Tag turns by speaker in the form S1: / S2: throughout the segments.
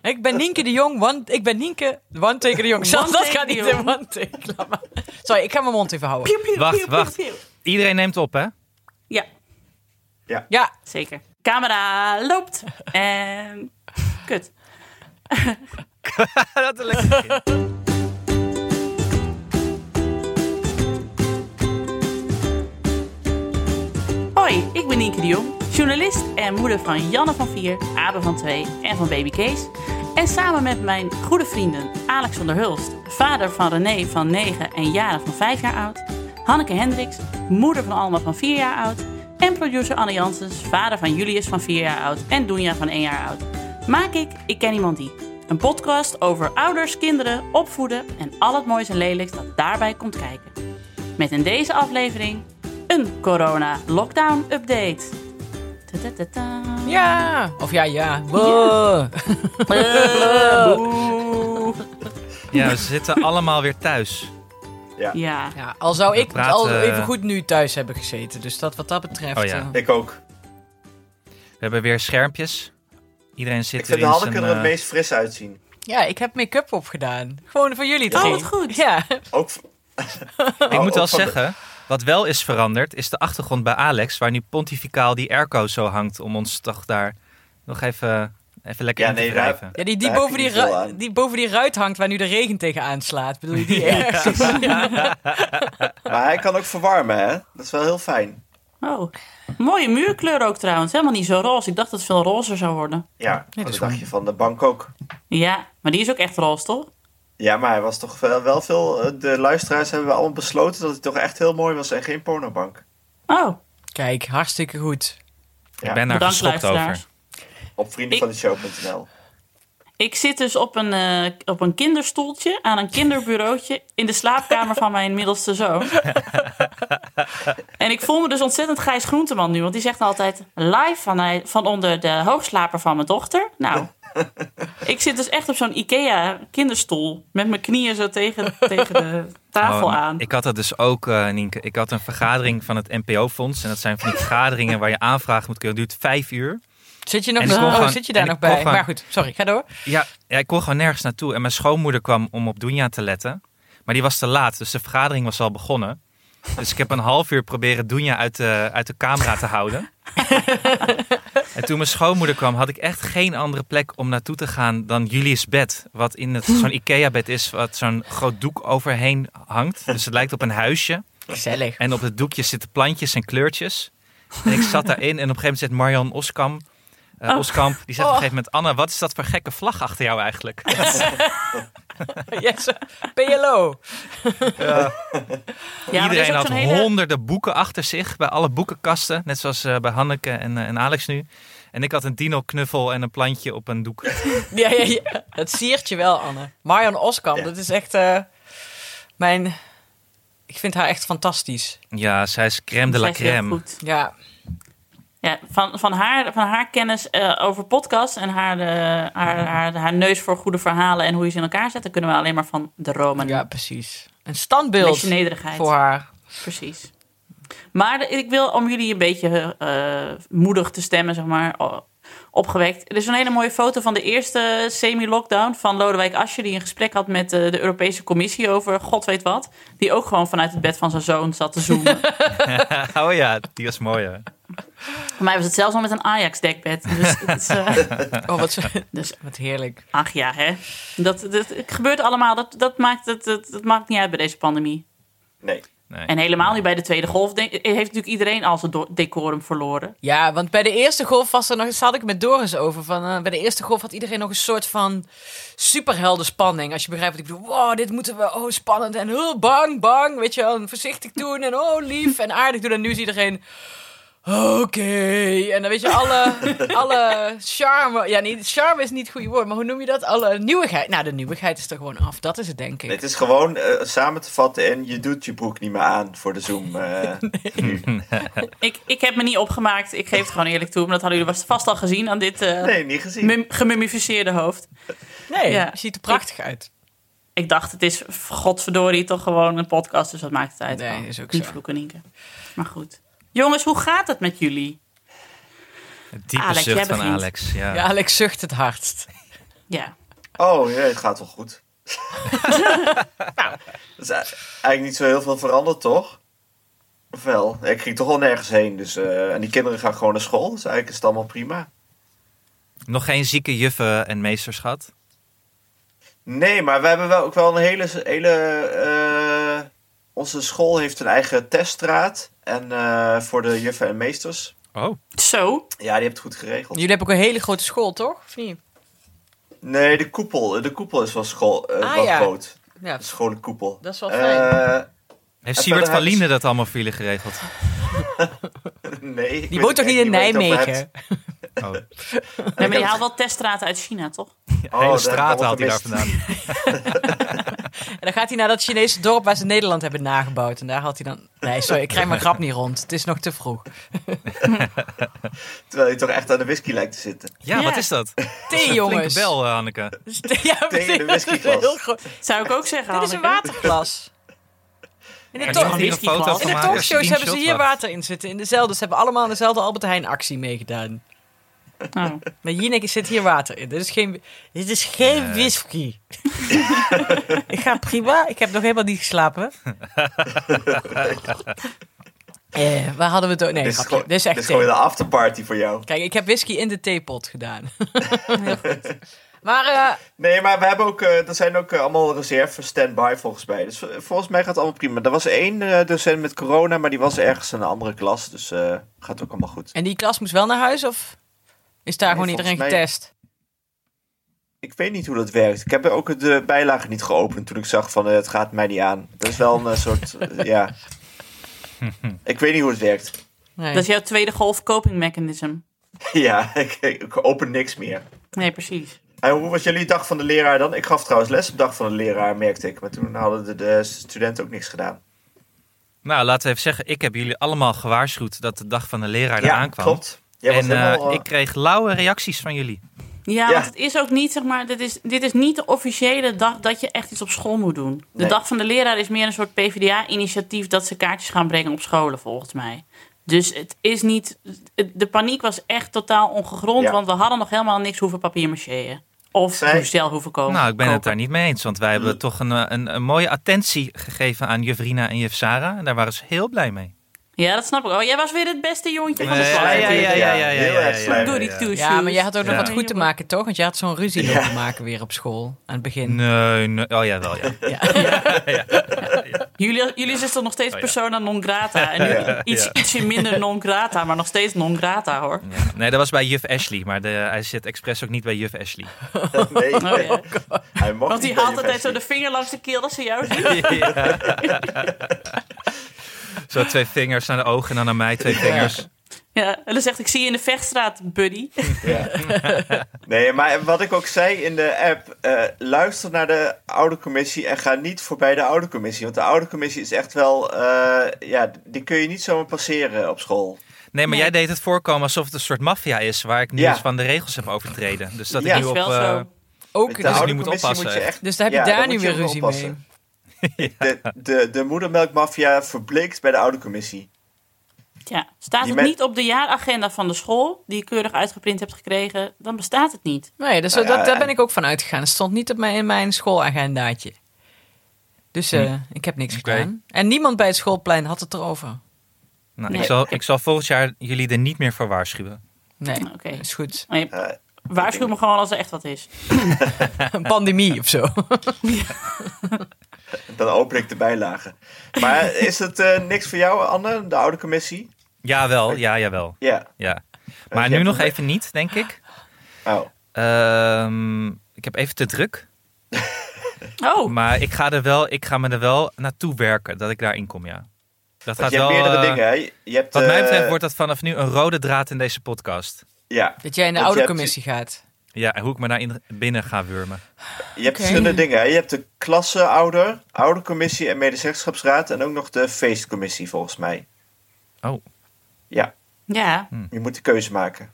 S1: Ik ben Nienke de Jong, want ik ben Nienke One Take de Jong. Zelfs dat
S2: Take
S1: gaat
S2: de
S1: niet
S2: Jong.
S1: in One Take. Laat maar. Sorry, ik ga mijn mond even houden.
S2: Piep, piep,
S3: Wacht,
S2: piep,
S3: wacht.
S2: piep, piep.
S3: Iedereen neemt op, hè?
S2: Ja,
S1: Ja,
S2: zeker. Camera loopt. En... Kut.
S3: dat is lekker.
S2: Hoi, ik ben Nienke de Jong, journalist en moeder van Janne van 4, Abe van 2 en van baby Kees. En samen met mijn goede vrienden Alex van der Hulst, vader van René van 9 en Jaren van 5 jaar oud, Hanneke Hendricks, moeder van Alma van 4 jaar oud, en producer Anne Janssens, vader van Julius van 4 jaar oud en Doenja van 1 jaar oud, maak ik Ik Ken Iemand Die. Een podcast over ouders, kinderen, opvoeden en al het moois en lelijks dat daarbij komt kijken. Met in deze aflevering een corona-lockdown-update. Ta-ta-ta-ta.
S1: ja. Of ja, ja. Buh.
S3: Ja, we zitten allemaal weer thuis.
S2: Ja,
S1: Ja, al zou ik
S3: praten,
S1: al
S3: eh,
S1: even goed nu thuis hebben gezeten. Dus dat, wat dat betreft...
S3: Oh ja.
S1: eh,
S4: Ik ook.
S3: We hebben weer schermpjes. Iedereen zit
S4: Ik vind
S3: er in
S4: Hanneke
S3: zijn,
S4: er het
S3: eh,
S4: meest fris uitzien.
S1: ja, ik heb make-up opgedaan. Gewoon voor jullie
S2: Oh,
S1: drie.
S2: wat goed.
S1: Ja.
S4: Ook...
S3: Ik moet wel zeggen, wat wel is veranderd, is de achtergrond bij Alex, waar nu pontificaal die airco zo hangt om ons toch daar nog even, even lekker
S4: Ja,
S3: in te
S4: nee, wij-
S3: drijven.
S1: Ja, die, die,
S4: Daar heb
S1: boven
S4: je
S1: die,
S4: niet veel
S1: ru-
S4: aan.
S1: die boven die ruit hangt waar nu de regen tegen aanslaat. Bedoel je die ergens?
S4: Maar hij kan ook verwarmen, hè? Dat is wel heel fijn.
S2: Oh, mooie muurkleur ook trouwens. Helemaal niet zo roze. Ik dacht dat het veel rozer zou worden.
S4: Ja,
S1: dat
S4: dat
S1: is
S4: dacht je van de bank ook.
S2: Ja, maar die is ook echt roze, toch?
S4: Ja, maar hij was toch wel, wel veel... eh, De luisteraars hebben allemaal besloten dat hij toch echt heel mooi was en geen pornobank.
S2: Oh,
S1: Kijk, hartstikke goed.
S4: Ja,
S3: Ik ben daar
S2: bedankt
S3: geschokt over.
S2: luisteraars.
S4: Op vriendenvandeshow.nl.
S2: Ik zit dus op een, eh, op een kinderstoeltje aan een kinderbureautje in de slaapkamer van mijn middelste zoon. en ik voel me dus ontzettend Gijs Groenteman nu, want die zegt altijd live van, hij- van onder de hoogslaper van mijn dochter. Nou, ik zit dus echt op zo'n Ikea kinderstoel met mijn knieën zo tegen, tegen de tafel
S3: Oh, maar
S2: aan.
S3: Ik had dat dus ook, eh, Nienke. Ik had een vergadering van het NPO-fonds. En dat zijn van die vergaderingen waar je aanvraag moet kunnen. Het duurt vijf uur.
S1: Zit je, nog,
S3: En ik kon
S1: oh,
S3: gewoon-
S1: zit je
S3: en
S1: daar nog
S3: ik kon
S1: bij?
S3: gewoon-
S1: Maar goed, sorry, ga door.
S3: Ja, ja, ik kon gewoon nergens naartoe. En mijn schoonmoeder kwam om op Doenja te letten. Maar die was te laat, dus de vergadering was al begonnen. Dus ik heb een half uur proberen Doenja uit de, uit de camera te houden. en toen mijn schoonmoeder kwam, had ik echt geen andere plek om naartoe te gaan dan Julius bed. Wat in het- zo'n Ikea-bed is, wat zo'n groot doek overheen hangt. Dus het lijkt op een huisje.
S1: Gezellig.
S3: En op het doekje zitten plantjes en kleurtjes. En ik zat daarin en op een gegeven moment zit Marian Oskam. eh,
S2: Oh.
S3: Oskamp, die zegt op een gegeven moment... Anna, wat is dat voor gekke vlag achter jou eigenlijk?
S1: Yes, eh, PLO.
S2: Ja, maar er is
S3: Iedereen
S2: ook
S3: had
S2: zo'n hele-
S3: honderden boeken achter zich. Bij alle boekenkasten. Net zoals eh, bij Hanneke en, eh, en Alex nu. En ik had een dino-knuffel en een plantje op een doek.
S1: Ja, ja, ja. Dat siert je wel, Anne. Marion Oskam,
S4: Ja.
S1: dat is echt eh, mijn... Ik vind haar echt fantastisch.
S3: Ja, zij is crème de la
S2: Zij is heel
S3: crème.
S2: goed.
S1: Ja,
S2: Ja, van, van, haar, van haar kennis eh, over podcasts en haar, eh,
S1: Mhm.
S2: haar, haar, haar neus voor goede verhalen en hoe je ze in elkaar zet, daar kunnen we alleen maar van dromen.
S1: ja precies. Een standbeeld
S2: Beetje nederigheid.
S1: voor haar.
S2: Precies. Maar de- ik wil om jullie een beetje eh, moedig te stemmen, zeg maar, o- opgewekt. Er is een hele mooie foto van de eerste semi-lockdown van Lodewijk Asscher... die een gesprek had met eh, de Europese Commissie over god weet wat. Die ook gewoon vanuit het bed van zijn zoon zat te zoomen.
S3: Oh ja, die was mooi hè.
S2: Voor mij was het zelfs al met een Ajax-dekbed. Dus, het is, eh,
S1: Oh, wat,
S2: dus
S1: wat heerlijk.
S2: Ach ja, hè. Dat, dat het gebeurt allemaal. Dat, dat, maakt, dat, dat, dat maakt niet uit bij deze pandemie.
S4: Nee.
S3: Nee.
S2: En helemaal nu bij de tweede golf denk- heeft natuurlijk iedereen al zijn do- decorum verloren.
S1: Ja, want bij de eerste golf was er nog, eens- had ik met Doris over. Van, eh, bij de eerste golf had iedereen nog een soort van superheldenspanning. Als je begrijpt wat ik bedoel. Wow, dit moeten we. Oh, spannend. En oh, bang, bang. Weet je wel. En voorzichtig doen. En oh, lief en aardig doen. En nu is iedereen. Oké. En dan weet je, alle, alle charme. Ja, nee, charme is niet het goede woord. Maar hoe noem je dat? Alle nieuwigheid. Nou, de nieuwigheid is er gewoon af. Dat is het, denk ik.
S4: Het is gewoon eh, samen te vatten en je doet je broek niet meer aan voor de Zoom. eh.
S2: Ik, ik heb me niet opgemaakt. Ik geef het gewoon eerlijk toe. Maar dat hadden jullie vast al gezien aan dit eh
S4: Nee, niet gezien.
S2: mum- gemummificeerde hoofd.
S1: Nee,
S2: Ja.
S1: het ziet er prachtig uit.
S2: Ik dacht, het is godverdorie toch gewoon een podcast. Dus wat maakt het uit?
S1: Nee,
S2: Oh,
S1: is ook
S2: niet
S1: zo.
S2: vloeken, Nienke. Maar goed. Jongens, hoe gaat het met jullie?
S3: Diepe
S2: Alex, jij
S3: zucht van
S2: begint.
S3: Alex. Ja.
S1: Ja, Alex zucht het hardst.
S2: Ja.
S4: Oh jee, het gaat wel goed. Dat is e- eigenlijk niet zo heel veel veranderd, toch? Of wel? Ik ging toch wel nergens heen. Dus, eh, en die kinderen gaan gewoon naar school. Dus eigenlijk is het allemaal prima.
S3: Nog geen zieke juffen en meesters gehad?
S4: Nee, maar we hebben wel ook wel een hele. hele eh, onze school heeft een eigen teststraat. En eh, voor de juffen en meesters.
S3: Oh.
S2: Zo.
S4: Ja, die hebben het goed geregeld.
S1: Jullie hebben ook een hele grote school, toch? Of niet?
S4: Nee, de koepel. De koepel is wel, school, eh,
S1: Ah,
S4: wel
S1: ja.
S4: groot.
S1: Ja.
S4: De scholenkoepel.
S1: Dat is wel
S4: Eh,
S3: Heeft
S4: En
S3: Siewert
S4: verder
S3: van
S4: hebben
S3: Liende dat allemaal voor jullie geregeld?
S4: nee. ik
S1: Die
S4: weet
S1: woont toch
S4: echt
S1: niet in
S4: waar je het over
S1: Nijmegen?
S4: hebt.
S3: Oh.
S2: Nee, maar
S4: heb
S2: je haalt
S4: het-
S2: wel teststraten uit China, toch?
S4: Oh,
S3: hele
S4: dat heb ik
S3: straat
S4: allemaal
S3: haalt hij daar
S4: gemist.
S3: vandaan.
S1: En dan gaat hij naar dat Chinese dorp waar ze Nederland hebben nagebouwd. En daar had hij dan... Nee, sorry, ik krijg mijn grap niet rond. Het is nog te vroeg.
S4: Terwijl je toch echt aan de whisky lijkt te zitten.
S3: Ja,
S2: Ja.
S3: wat is dat?
S1: Thee,
S3: Flinke
S1: jongens.
S3: bel, eh, Hanneke.
S1: Ja, maar
S4: Tegen de
S1: dat is
S4: whiskyglas.
S1: heel groot.
S2: Zou ik ook zeggen,
S1: Dit is een
S2: Hanneke.
S1: waterglas. In de,
S2: Ja,
S3: Er
S1: talk-
S3: kan hier een
S2: whiskyglas.
S3: foto
S1: in
S3: van
S1: de
S3: maken.
S1: talkshows hebben ze
S3: Screenshot
S1: hier
S3: wat.
S1: water in zitten. In dezelfde, ze hebben allemaal aan dezelfde Albert Heijn actie meegedaan.
S2: Oh.
S1: Maar Jinek zit hier water in. Dit is geen, dit is geen whisky. ik ga prima. Ik heb nog helemaal niet geslapen. eh, waar hadden we het over? Nee,
S4: dit, is
S1: grapje.
S4: gewoon,
S1: Dit is echt
S4: dit is gewoon
S1: thee.
S4: de afterparty voor jou.
S1: Kijk, ik heb whisky in de theepot gedaan. maar eh,
S4: Nee, maar we hebben ook, eh, er zijn ook eh, allemaal reserve stand-by volgens mij. Dus eh, volgens mij gaat het allemaal prima. Er was één eh, docent met corona, maar die was ergens in een andere klas. Dus eh, gaat ook allemaal goed.
S1: en die klas moest wel naar huis of is daar
S4: Nee,
S1: gewoon iedereen
S4: volgens mij-
S1: getest?
S4: Ik weet niet hoe dat werkt. Ik heb ook de bijlage niet geopend toen ik zag van eh, het gaat mij niet aan. Dat is wel een eh, soort, eh, ja. Ik weet niet hoe het werkt.
S1: Nee.
S2: Dat is jouw tweede golf coping mechanism.
S4: ja, ik, ik open niks meer.
S2: Nee, precies.
S4: En hoe was jullie dag van de leraar dan? Ik gaf trouwens les op dag van de leraar, merkte ik. Maar toen hadden de, de studenten ook niks gedaan.
S3: Nou, laten we even zeggen, ik heb jullie allemaal gewaarschuwd dat de dag van de leraar eraan kwam.
S4: klopt. Jij was
S3: en eh,
S4: helemaal, eh,
S3: ik kreeg lauwe reacties van jullie.
S2: Ja,
S4: Ja.
S2: want het is ook niet, zeg maar, dit is, dit is niet de officiële dag dat je echt iets op school moet doen. De
S4: Nee.
S2: dag van de leraar is meer een soort PvdA-initiatief dat ze kaartjes gaan brengen op scholen, volgens mij. Dus het is niet, het- de paniek was echt totaal ongegrond,
S4: Ja.
S2: want we hadden nog helemaal niks hoeven papiermacheën. Of
S4: Zij-
S2: stel hoeven komen.
S3: Nou, ik ben het
S2: kopen.
S3: daar niet mee eens, want wij hebben
S4: Oh, Mm.
S3: toch een, eh, een, een mooie attentie gegeven aan juf Rina en juf Sarah. En daar waren ze heel blij mee.
S2: Ja, dat snap ik. Oh, jij was weer het beste jongetje van de
S4: Nee,
S2: klas.
S4: Eh, ja, ja, ja, ja, ja, ja, ja.
S2: Doe
S4: ja.
S2: die two-shoes.
S1: Ja, maar jij had ook nog
S3: Ja.
S1: wat goed te maken, toch? Want jij had zo'n ruzie
S4: Ja.
S1: te maken weer op school aan het
S4: Mm.
S1: begin.
S3: Nee, nee. Oh ja, wel ja.
S1: Ja.
S2: Jullie, jullie is toch nog steeds
S3: Oh, ja.
S2: persona non grata. En nu
S3: Ja.
S2: iets,
S3: Ja.
S2: ietsje minder non grata, maar nog steeds non grata hoor.
S3: Ja. Nee, dat was bij juf Ashley, maar de, hij zit expres ook niet bij juf Ashley.
S4: nee,
S2: Oh, ja.
S4: hij mocht
S2: Want die
S4: niet bij
S2: haalt
S4: je
S2: altijd zo de
S4: vesting.
S2: vinger langs de keel als ze jou ziet.
S3: Ja. Zo twee vingers naar de ogen en dan naar mij twee vingers.
S2: Ja, en dan zegt ik zie je in de vechtstraat, buddy.
S4: Ja. Nee, maar wat ik ook zei in de app, eh, luister naar de oude commissie en ga niet voorbij de oude commissie. Want de oude commissie is echt wel, eh, ja, die kun je niet zomaar passeren op school.
S3: Nee, maar
S2: Nee.
S3: jij deed het voorkomen alsof het een soort maffia is waar ik nu
S4: Ja.
S3: eens van de regels heb overtreden. Dus dat
S4: Ja.
S3: ik nu
S2: Is
S3: op.
S2: wel
S3: eh,
S2: zo.
S1: Ook
S3: dus
S4: Met de
S1: dus,
S3: je
S4: oude
S3: moet
S4: commissie moet
S3: oppassen.
S4: je echt...
S1: dus daar heb
S4: ja,
S1: je daar
S4: dan
S1: nu
S4: moet
S1: weer
S4: ook
S1: ruzie mee.
S4: oppassen. De, de, de moedermelkmafia verbleekt bij de oude commissie.
S2: Ja, staat
S4: Die
S2: het
S4: men-
S2: niet op de jaaragenda van de school, die je keurig uitgeprint hebt gekregen, dan bestaat het niet.
S1: Nee, dus
S4: Nou ja,
S1: dat, daar ben
S4: en-
S1: ik ook van uitgegaan. Het stond niet op mijn, in mijn schoolagendaatje. Dus eh, ik heb niks
S3: Oké.
S1: gedaan. En niemand bij het schoolplein had het erover.
S3: nou,
S2: Nee.
S3: ik, zal, ik zal volgend jaar jullie er niet meer voor waarschuwen.
S1: Nee,
S2: Oké.
S1: is goed.
S2: Nee,
S4: Eh,
S2: waarschuw me gewoon als er echt wat is.
S1: Een pandemie of zo.
S4: dan open ik de bijlagen. Maar is het eh, niks voor jou, Anne, de oude commissie?
S3: Jawel, ja, jawel.
S4: Ja.
S3: Ja.
S4: je
S3: Maar nu
S4: hebt
S3: nog
S4: een-
S3: even niet, denk ik.
S4: Oh.
S3: Ehm, ik heb even te druk.
S2: Oh,
S3: Maar ik ga, er wel, ik ga me er wel naartoe werken dat ik daarin kom, ja. Dat gaat
S4: Want je hebt
S3: wel.
S4: meerdere
S3: eh,
S4: dingen, hè? Je hebt,
S3: Wat mij
S4: eh,
S3: betreft wordt dat vanaf nu een rode draad in deze podcast.
S4: Ja,
S1: Dat jij in de
S4: Want je
S1: oude
S4: hebt-
S1: commissie gaat.
S3: Ja, en hoe ik me daarin binnen ga wurmen.
S4: je hebt
S1: Oké.
S4: verschillende dingen. Hè? Je hebt de klasseouder, oudercommissie en medezeggenschapsraad... en ook nog de feestcommissie, volgens mij.
S3: Oh.
S4: Ja,
S2: ja.
S3: Hmm. Hm.
S4: je moet de keuze maken.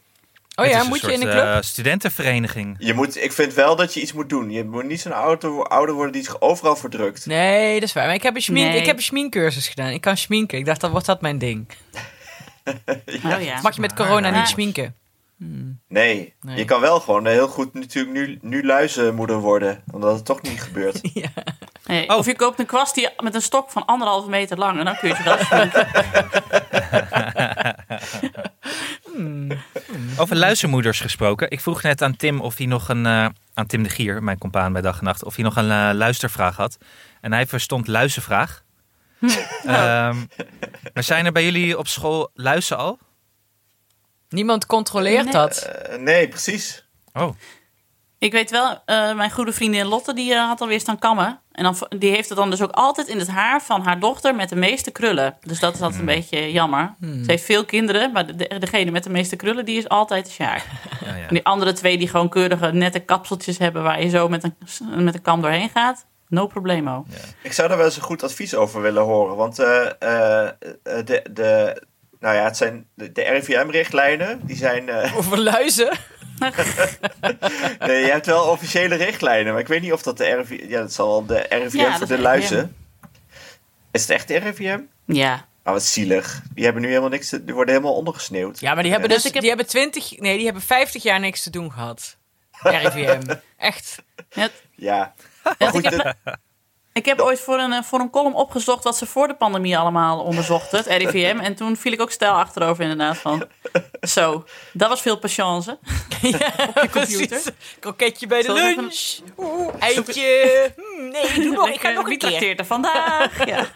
S1: Oh
S3: Het
S1: ja,
S3: is
S1: moet je
S3: soort,
S1: in een club?
S3: eh, studentenvereniging.
S4: Je moet, ik vind wel dat je iets moet doen. Je moet niet zo'n ouder, ouder worden die zich overal verdrukt.
S1: Nee, dat is waar. Maar ik heb een, schmink,
S2: Nee.
S1: ik heb een schminkcursus gedaan. Ik kan schminken. Ik dacht, dan wordt dat mijn ding.
S2: Oh, ja.
S1: Mag je met
S3: Maar,
S1: corona
S3: nou,
S1: niet schminken?
S4: Nee.
S1: Nee.
S4: je kan wel gewoon heel goed natuurlijk nu, nu luizenmoeder worden. Omdat het toch niet gebeurt.
S2: Nee,
S3: Oh.
S2: Of je koopt een kwast die, met een stok van anderhalve meter lang en dan kun je het wel snoepen.
S1: Mm.
S3: Over luizenmoeders gesproken. Ik vroeg net aan Tim of hij nog een. eh, aan Tim de Gier, mijn compaan bij dag en nacht. of hij nog een eh, luistervraag had. En hij verstond luizenvraag.
S1: Oh.
S3: Ehm, maar zijn er bij jullie op school luizen al?
S1: Niemand controleert
S2: Nee.
S1: dat.
S4: Eh, nee, precies.
S3: Oh,
S2: Ik weet wel, eh, mijn goede vriendin Lotte, die eh, had alweer staan kammen. En dan, die heeft het dan dus ook altijd in het haar van haar dochter met de meeste krullen. Dus dat is altijd een beetje jammer. Ze heeft veel kinderen, maar de- de- degene met de meeste krullen, die is altijd de sjaak.
S3: ja, ja.
S2: En die andere twee die gewoon keurige nette kapseltjes hebben waar je zo met een, met een kam doorheen gaat, no problemo.
S4: Ik zou daar wel eens een goed advies over willen horen. Want eh, eh, eh, de, de, nou ja, het zijn de, de RIVM-richtlijnen. Die zijn. eh,
S1: Over luizen.
S4: nee, je hebt wel officiële richtlijnen. Maar ik weet niet of dat de RIVM. Ja, dat zal wel de RIVM
S2: Ja, dat
S4: voor
S2: is
S4: de
S2: RIVM.
S4: luizen. Is het echt de RIVM?
S2: Ja,
S4: Ah, wat zielig. Die hebben nu helemaal niks. te- die worden helemaal ondergesneeuwd.
S1: Ja, maar die hebben
S4: Ja.
S1: dus,
S2: Dus ik heb-
S1: die hebben 20, nee, die hebben 50 jaar niks te doen gehad. RIVM. Echt.
S2: het,
S4: Ja. Maar goed, eh,
S2: ik heb-
S4: dit-
S2: Ik heb ooit voor een, eh, voor een column opgezocht wat ze voor de pandemie allemaal onderzochten, het RIVM. En toen viel ik ook stijl achterover inderdaad van, zo, dat was veel patience.
S1: Ja,
S2: computer.
S1: precies. Kroketje bij de
S2: Zal ik
S1: lunch. Oeh, eitje. Hm, nee, doe nog. Ik ga
S2: Lekker,
S1: nog een
S2: wie
S1: keer.
S2: trakteert er vandaag? Ja.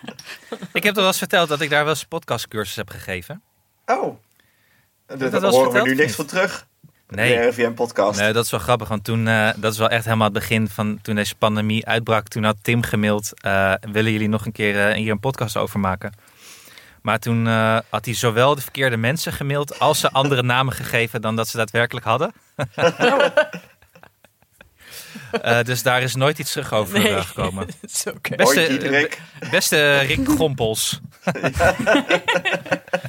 S3: Ik heb er wel eens verteld dat ik daar wel eens een podcastcursus heb gegeven.
S4: Oh.
S3: dat
S4: Daar
S3: wel eens
S4: horen we
S3: verteld,
S4: nu
S3: of
S4: niks
S3: niet?
S4: van terug.
S3: Nee.
S4: De RIVM-podcast.
S3: Nee, dat is wel grappig, want toen, eh, dat is wel echt helemaal het begin van toen deze pandemie uitbrak. Toen had Tim gemaild, eh, willen jullie nog een keer eh, hier een podcast over maken? Maar toen eh, had hij zowel de verkeerde mensen gemaild als ze andere namen gegeven dan dat ze daadwerkelijk hadden. Eh, dus daar is nooit iets terug over
S1: Nee.
S3: eh, gekomen.
S1: Is oké.
S3: Beste,
S4: Hoi, Diederik.
S3: eh, beste Rick Gompels.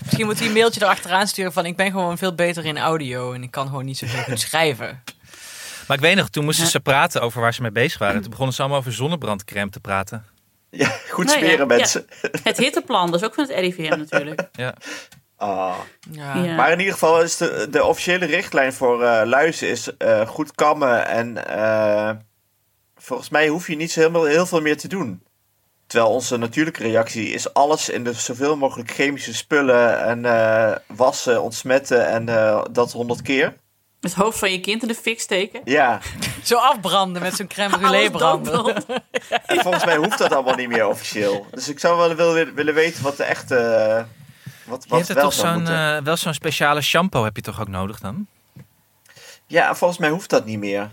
S1: Misschien moet hij een mailtje erachteraan sturen van... ik ben gewoon veel beter in audio en ik kan gewoon niet zo heel goed schrijven.
S3: Maar ik weet nog, toen moesten ze praten over waar ze mee bezig waren. Toen begonnen ze allemaal over zonnebrandcrème te praten.
S4: Ja, goed
S2: Nou ja,
S4: smeren,
S2: ja.
S4: mensen.
S2: Het hitteplan, dat is ook van het RIVM natuurlijk.
S3: Ja.
S4: Ah.
S1: Ja.
S2: Ja.
S4: Maar in ieder geval is de, de officiële richtlijn voor eh, luizen is eh, goed kammen. En eh, volgens mij hoef je niet zo heel, heel veel meer te doen. Terwijl onze natuurlijke reactie is alles in de zoveel mogelijk chemische spullen en eh, wassen, ontsmetten en eh, dat honderd keer.
S2: Het hoofd van je kind in de fik steken.
S4: Ja,
S1: Zo afbranden met zo'n crème
S2: Alles
S1: brûlée branden.
S2: doodbrand.
S4: en volgens mij hoeft dat allemaal niet meer officieel. Dus ik zou wel willen, willen weten wat de echte... eh, wat,
S3: Je
S4: wat
S3: hebt er
S4: wel
S3: toch
S4: zou
S3: zo'n,
S4: moeten.
S3: eh, wel zo'n speciale shampoo heb je toch ook nodig dan?
S4: Ja, volgens mij hoeft dat niet meer.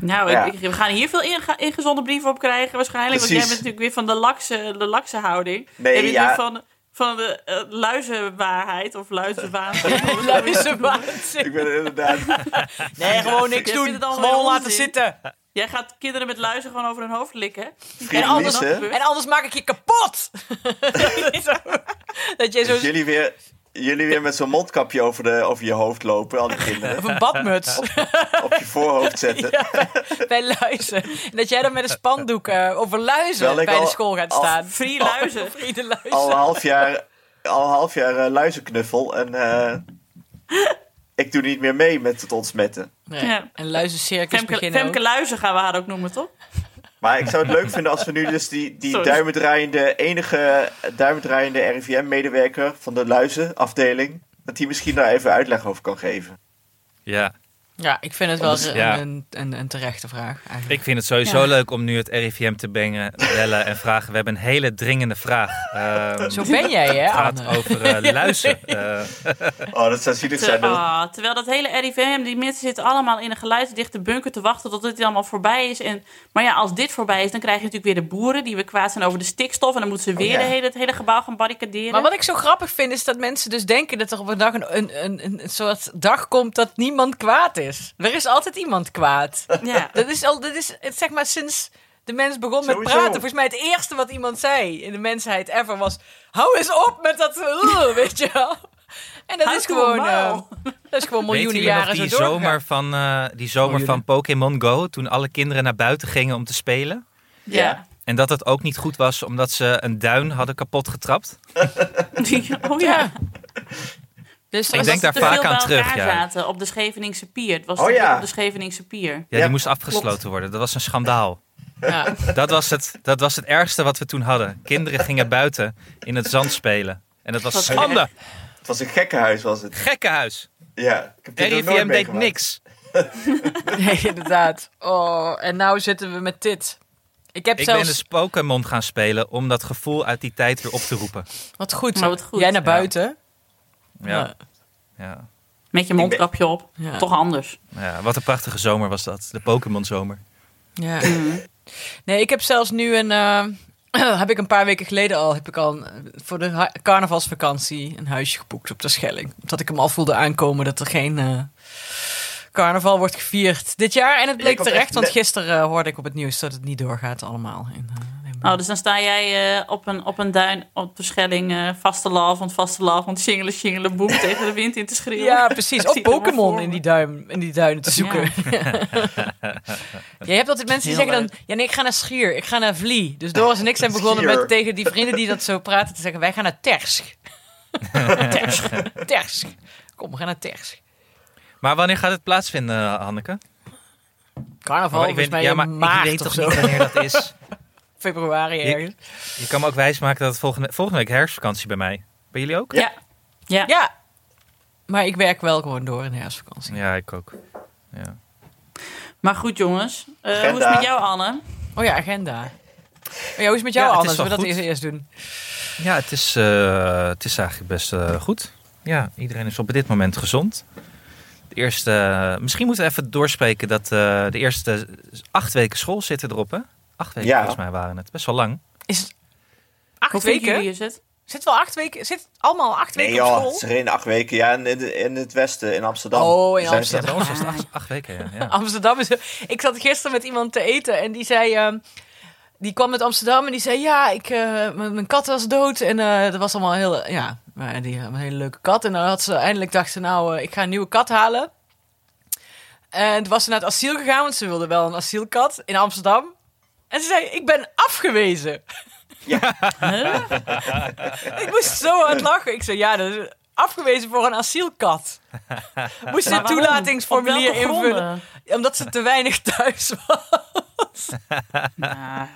S2: Nou, ik-
S4: Ja.
S2: ik- we gaan hier veel inge- ingezonde brieven op krijgen waarschijnlijk. Want jij
S4: Precies.
S2: bent natuurlijk weer van de lakse, de lakse houding.
S4: Nee,
S2: Jij bent
S4: ja.
S2: weer van, van de eh, luizenwaarheid of luizenwaanzin.
S1: Luizenwaanzin.
S4: Ik ben inderdaad...
S1: Nee, gewoon niks
S2: Je
S1: doen.
S2: vindt het allemaal
S1: Gewoon
S2: onzin.
S1: laten zitten.
S2: Jij gaat kinderen met luizen gewoon over hun hoofd likken.
S4: Vrienden
S2: anders-
S4: Lies, hè?
S1: En anders maak ik je kapot. dat jij
S4: Dus
S1: zo...
S4: jullie weer, jullie weer met zo'n mondkapje over, de, over je hoofd lopen, al die kinderen.
S1: Of een badmuts.
S4: Op je voorhoofd zetten.
S1: bij luizen. En dat jij dan met een spandoek eh, over luizen
S4: Terwijl ik
S1: bij de
S4: al-
S1: school gaat
S4: al-
S1: staan.
S2: Free luizen.
S1: Free de luizen.
S4: Al een half jaar, al een half jaar eh, luizenknuffel. En eh, ik doe niet meer mee met het ontsmetten.
S1: Nee.
S2: Ja.
S1: En luizencircus
S2: Femke,
S1: beginnen
S2: Femke
S1: ook.
S2: Luizen gaan we haar ook noemen, toch?
S4: Maar ik zou het leuk vinden als we nu dus die, die
S2: Sorry.
S4: duimendraaiende, enige duimendraaiende RIVM-medewerker van de luizenafdeling, dat die misschien daar even uitleg over kan geven.
S3: Ja,
S1: Ja, ik vind het wel een,
S3: ja.
S1: een, een, een terechte vraag eigenlijk.
S3: ik vind het sowieso
S2: Ja.
S3: leuk om nu het RIVM te bengen, bellen en vragen. We hebben een hele dringende vraag. Ehm,
S1: Zo ben jij, hè,
S3: het gaat
S1: Anne?
S3: over eh, luizen. Eh,
S4: Oh, dat zou zielig zijn. Dat,
S2: Ah, terwijl dat hele RIVM, die mensen zitten allemaal in een geluidsdichte bunker te wachten tot dit allemaal voorbij is. En, maar ja, als dit voorbij is, dan krijg je natuurlijk weer de boeren die weer kwaad zijn over de stikstof. En dan moeten ze
S3: Oh,
S2: weer
S4: ja.
S2: de hele, het hele gebouw gaan barricaderen.
S1: Maar wat ik zo grappig vind, is dat mensen dus denken dat er op een dag een, een, een, een soort dag komt dat niemand kwaad is. Er is altijd iemand kwaad.
S2: Ja.
S1: Dat is al, dat is het, zeg maar sinds de mens begon met
S4: Sowieso.
S1: praten. Volgens mij het eerste wat iemand zei in de mensheid ever was: hou eens op met dat, eh, weet je wel. En dat
S2: Houd
S1: is
S2: toe,
S1: gewoon, eh,
S2: normaal.
S1: dat is gewoon
S3: Weet
S1: miljoenen
S3: jullie nog
S1: jaren
S3: die
S1: zo doorgegaan.
S3: zomer, van, eh, die zomer
S1: Miljoenen.
S3: van Pokémon Go? Toen alle kinderen naar buiten gingen om te spelen.
S2: ja.
S3: En dat het ook niet goed was omdat ze een duin hadden kapot getrapt.
S2: oh ja.
S1: Dus
S3: Ik
S1: was dat
S3: denk daar
S2: te
S1: het
S3: vaak
S1: te
S2: veel
S3: aan
S2: bij
S3: terug,
S2: elkaar
S3: ja.
S2: zaten op de Scheveningse pier. Het was
S4: Oh
S2: te veel
S4: ja.
S2: op de Scheveningse pier.
S4: Ja,
S3: die moest afgesloten worden. Dat was een schandaal.
S1: veel- Ja.
S3: Dat was, het, dat was het ergste wat we toen hadden. Kinderen gingen buiten in het zand spelen. En dat was
S2: Dat was
S3: schande.
S4: Het was een gekkenhuis, was het.
S3: Gekkenhuis.
S4: Ja, ik heb dit nog nooit
S3: RIVM deed
S4: meegemaakt.
S3: niks.
S1: Nee, inderdaad. Oh, en nou zitten we met dit. Ik heb
S3: Ik ben
S1: zelfs...
S3: dus Pokémon gaan spelen om dat gevoel uit die tijd weer op te roepen.
S1: Wat goed.
S2: Maar wat goed.
S1: Jij naar
S3: Ja.
S1: buiten.
S3: Ja, ja.
S2: Met je mondkapje op.
S1: Ja.
S2: Toch anders.
S3: ja wat een prachtige zomer was dat. De Pokémon zomer.
S1: Ja. Nee, ik heb zelfs nu een... eh, heb ik een paar weken geleden al... Heb ik al een- voor de ha- carnavalsvakantie een huisje geboekt op de Schelling. Omdat ik hem al voelde aankomen dat er geen... eh, Carnaval wordt gevierd dit jaar. En het bleek
S4: komt
S1: terecht,
S4: echt
S1: want
S4: net-
S1: gisteren eh, hoorde ik op het nieuws dat het niet doorgaat allemaal. In, eh, in-
S2: Oh, dus dan sta jij eh, op, een, op een duin op de Schelling eh vaste laf, want vaste laf, want singelen, singelen, boem tegen de wind in te schreeuwen.
S1: Ja, precies.
S2: Dat
S1: Of
S2: zie ik helemaal voor
S1: Pokémon
S2: me.
S1: in die, duim, in die duinen te zoeken. Je hebt altijd mensen die
S2: Heel
S1: zeggen dan... Ja, nee, ik ga naar Schier. Ik ga naar Vlie. Dus Doris en ik zijn begonnen
S4: Schier.
S1: met tegen die vrienden die dat zo praten... te zeggen, wij gaan naar Tersch. Tersch. Tersch. Kom, we gaan naar Tersch.
S3: Maar wanneer gaat het plaatsvinden, Hanneke?
S1: Carnaval,
S3: Maar ik
S1: volgens
S3: weet-
S1: mij
S3: ja,
S1: in
S3: maar ik
S1: maart
S3: weet
S1: of
S3: toch
S1: zo.
S3: niet wanneer dat is.
S1: Februari
S3: Ik-
S1: ergens.
S3: Je kan me ook wijsmaken dat het volgende, volgende week herfstvakantie bij mij. Bij jullie ook?
S2: Ja. Ja.
S1: Ja. Maar ik werk wel gewoon door in de herfstvakantie.
S3: Ja, ik ook. Ja.
S2: Maar goed, jongens. Eh, hoe is
S4: Agenda.
S2: het met jou, Anne?
S1: Oh ja, agenda. Oh ja, hoe is het met jou,
S3: Ja, het
S1: Anne?
S3: is
S1: Zullen we dat
S3: wel goed.
S1: eerst, eerst doen?
S3: Ja, het is, eh, het is eigenlijk best eh, goed. Ja, iedereen is op dit moment gezond. De eerste, misschien moeten we even doorspreken dat eh, de eerste acht weken school zitten erop, hè? Acht weken
S4: Ja.
S3: volgens mij waren het. Best wel lang.
S1: Is het acht
S2: Hoe vinden
S1: weken?
S2: jullie is het?
S1: Zit wel acht weken? Zit allemaal acht
S4: Nee
S1: weken op
S4: joh,
S1: school?
S4: het is er in acht weken. Ja, in, in, in het westen, in Amsterdam.
S1: Oh, in
S4: Zijn ze-
S3: Ja,
S1: Amsterdam.
S3: bij ons was het acht, acht weken, ja. ja.
S1: Amsterdam is. Ik zat gisteren met iemand te eten en die zei. ehm, die kwam uit Amsterdam en die zei: Ja, ik, eh, mijn mijn kat was dood. En eh, dat was allemaal heel. Ja, maar die had een hele leuke kat. En dan had ze eindelijk dacht ze: Nou, eh, ik ga een nieuwe kat halen. En toen was ze naar het asiel gegaan, want ze wilde wel een asielkat in Amsterdam. En ze zei: Ik ben afgewezen. ik moest zo hard lachen. Ik zei: Ja, dat is afgewezen voor een asielkat. Moest je
S2: Maar
S1: een
S2: waarom?
S1: toelatingsformulier
S2: Op welke
S1: invullen?
S2: gronden?
S1: Omdat ze te weinig thuis was.
S2: Nou,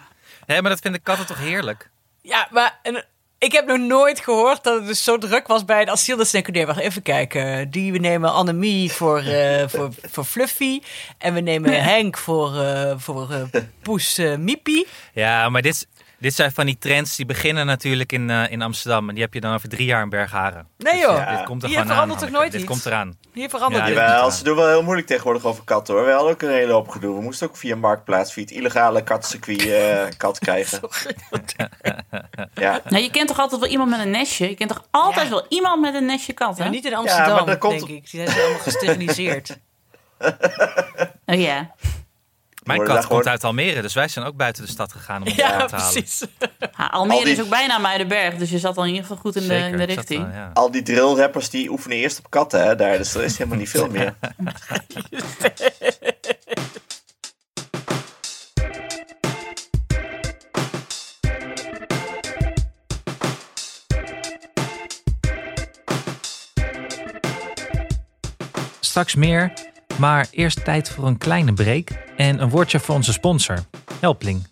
S3: Nee, maar dat vinden katten toch heerlijk?
S1: Ja, maar en, ik heb nog nooit gehoord dat het dus zo druk was bij het asiel. Dat ze denken, nee, wacht even kijken. Die, we nemen Annemie voor, eh, voor, voor Fluffy. En we nemen Henk voor, eh, voor eh, Poes eh, Miepie.
S3: Ja, maar dit, dit zijn van die trends die beginnen natuurlijk in, eh, in Amsterdam. En die heb je dan over drie jaar in Bergharen. Dus
S1: Nee joh,
S4: Ja.
S3: Dit komt er
S1: Hier
S3: gewoon aan,
S1: verandert toch
S3: Hanneke.
S1: nooit
S3: Dit
S1: iets?
S3: komt eraan.
S1: hier verandert
S3: Ja,
S1: het.
S3: jawel.
S4: Jawel, ze doen wel heel moeilijk tegenwoordig over katten hoor. We hadden ook een hele hoop gedoe. We moesten ook via Marktplaats, via het illegale kattencircuit eh, kat krijgen. Ja.
S2: Nou, je kent toch altijd wel iemand met een nestje? Je kent toch altijd
S1: Ja.
S2: wel iemand met een nestje kat, hè?
S1: Maar niet in Amsterdam,
S4: Ja, maar dat komt-
S1: denk ik. Die zijn allemaal gesteriliseerd.
S2: Oh ja.
S3: Mijn
S4: Worden daar
S3: kat komt
S4: gewoon-
S3: uit Almere, dus wij zijn ook buiten de stad gegaan om die
S1: ja,
S3: aan te halen.
S1: precies.
S2: Ha, Almere
S4: Al die-
S2: is ook bijna Muidenberg, dus je zat al in ieder geval goed
S1: eh,
S2: in de, in de
S3: ik zat
S2: richting.
S3: daar, ja.
S4: Al die drillrappers die oefenen eerst op katten hè, daar, dus er is helemaal niet veel meer.
S3: Straks meer, maar eerst tijd voor een kleine break en een woordje voor onze sponsor, Helpling.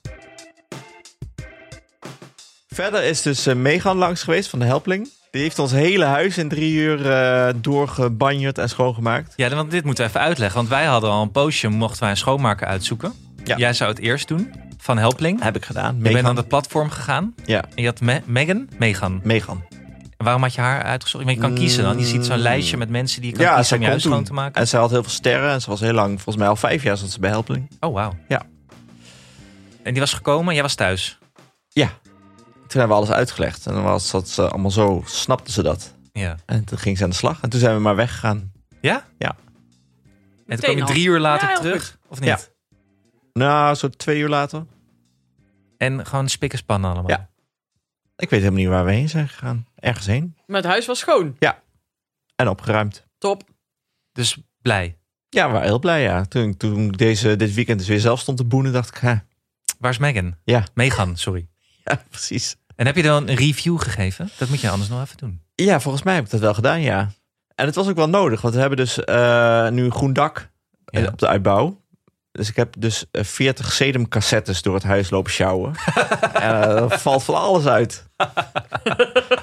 S4: Verder is dus eh, Megan langs geweest van de Helpling. Die heeft ons hele huis in drie uur eh doorgebanjerd en schoongemaakt.
S3: Ja, want dit moeten we even uitleggen, want wij hadden al een poosje, mochten wij een schoonmaker uitzoeken.
S4: Ja.
S3: Jij zou het eerst doen, van Helpling.
S4: Heb ik gedaan.
S3: Je bent
S4: Megan.
S3: aan het platform gegaan
S4: Ja,
S3: en je had Me- Megan, Megan.
S4: Megan.
S3: En waarom had je haar uitgezocht? Want je kan kiezen dan. Je ziet zo'n lijstje met mensen die je kan
S4: Mm. Ja,
S3: kiezen
S4: zij
S3: om je
S4: kon
S3: huis schoon
S4: toen.
S3: te maken.
S4: En ze had heel veel sterren en ze was heel lang, volgens mij al vijf jaar zat ze bij Helpling.
S3: Oh, wauw.
S4: Ja.
S3: En die was gekomen en jij was thuis.
S4: Ja. Toen hebben we alles uitgelegd. En dan was dat ze allemaal zo, snapte ze dat.
S3: Ja.
S4: En toen ging ze aan de slag. En toen zijn we maar weggegaan.
S3: Ja?
S4: Ja.
S3: En toen
S1: Meteen
S3: kwam je
S1: al.
S3: drie uur later
S1: Ja, heel
S3: terug, of niet?
S4: Ja. Nou, zo twee uur later.
S3: En gewoon spik en span allemaal.
S4: Ja. Ik weet helemaal niet waar we heen zijn gegaan. Ergens heen.
S1: Maar het huis was schoon.
S4: En opgeruimd.
S1: Top.
S3: Dus blij.
S4: Ja, we waren heel blij, ja. Toen, toen ik deze, dit weekend dus weer zelf stond te boenen, dacht ik... Ha,
S3: Waar is Megan?
S4: Ja.
S3: Megan, sorry.
S4: ja, precies.
S3: En heb je dan een review gegeven? Dat moet je anders nog even doen.
S4: Ja, volgens mij heb ik dat wel gedaan, ja.
S1: En het was ook wel nodig, want we hebben dus eh, nu een groen dak eh,
S3: Ja.
S1: op de uitbouw. Dus ik heb dus eh, 40 sedumcassettes door het huis lopen sjouwen. en eh, er valt van alles uit.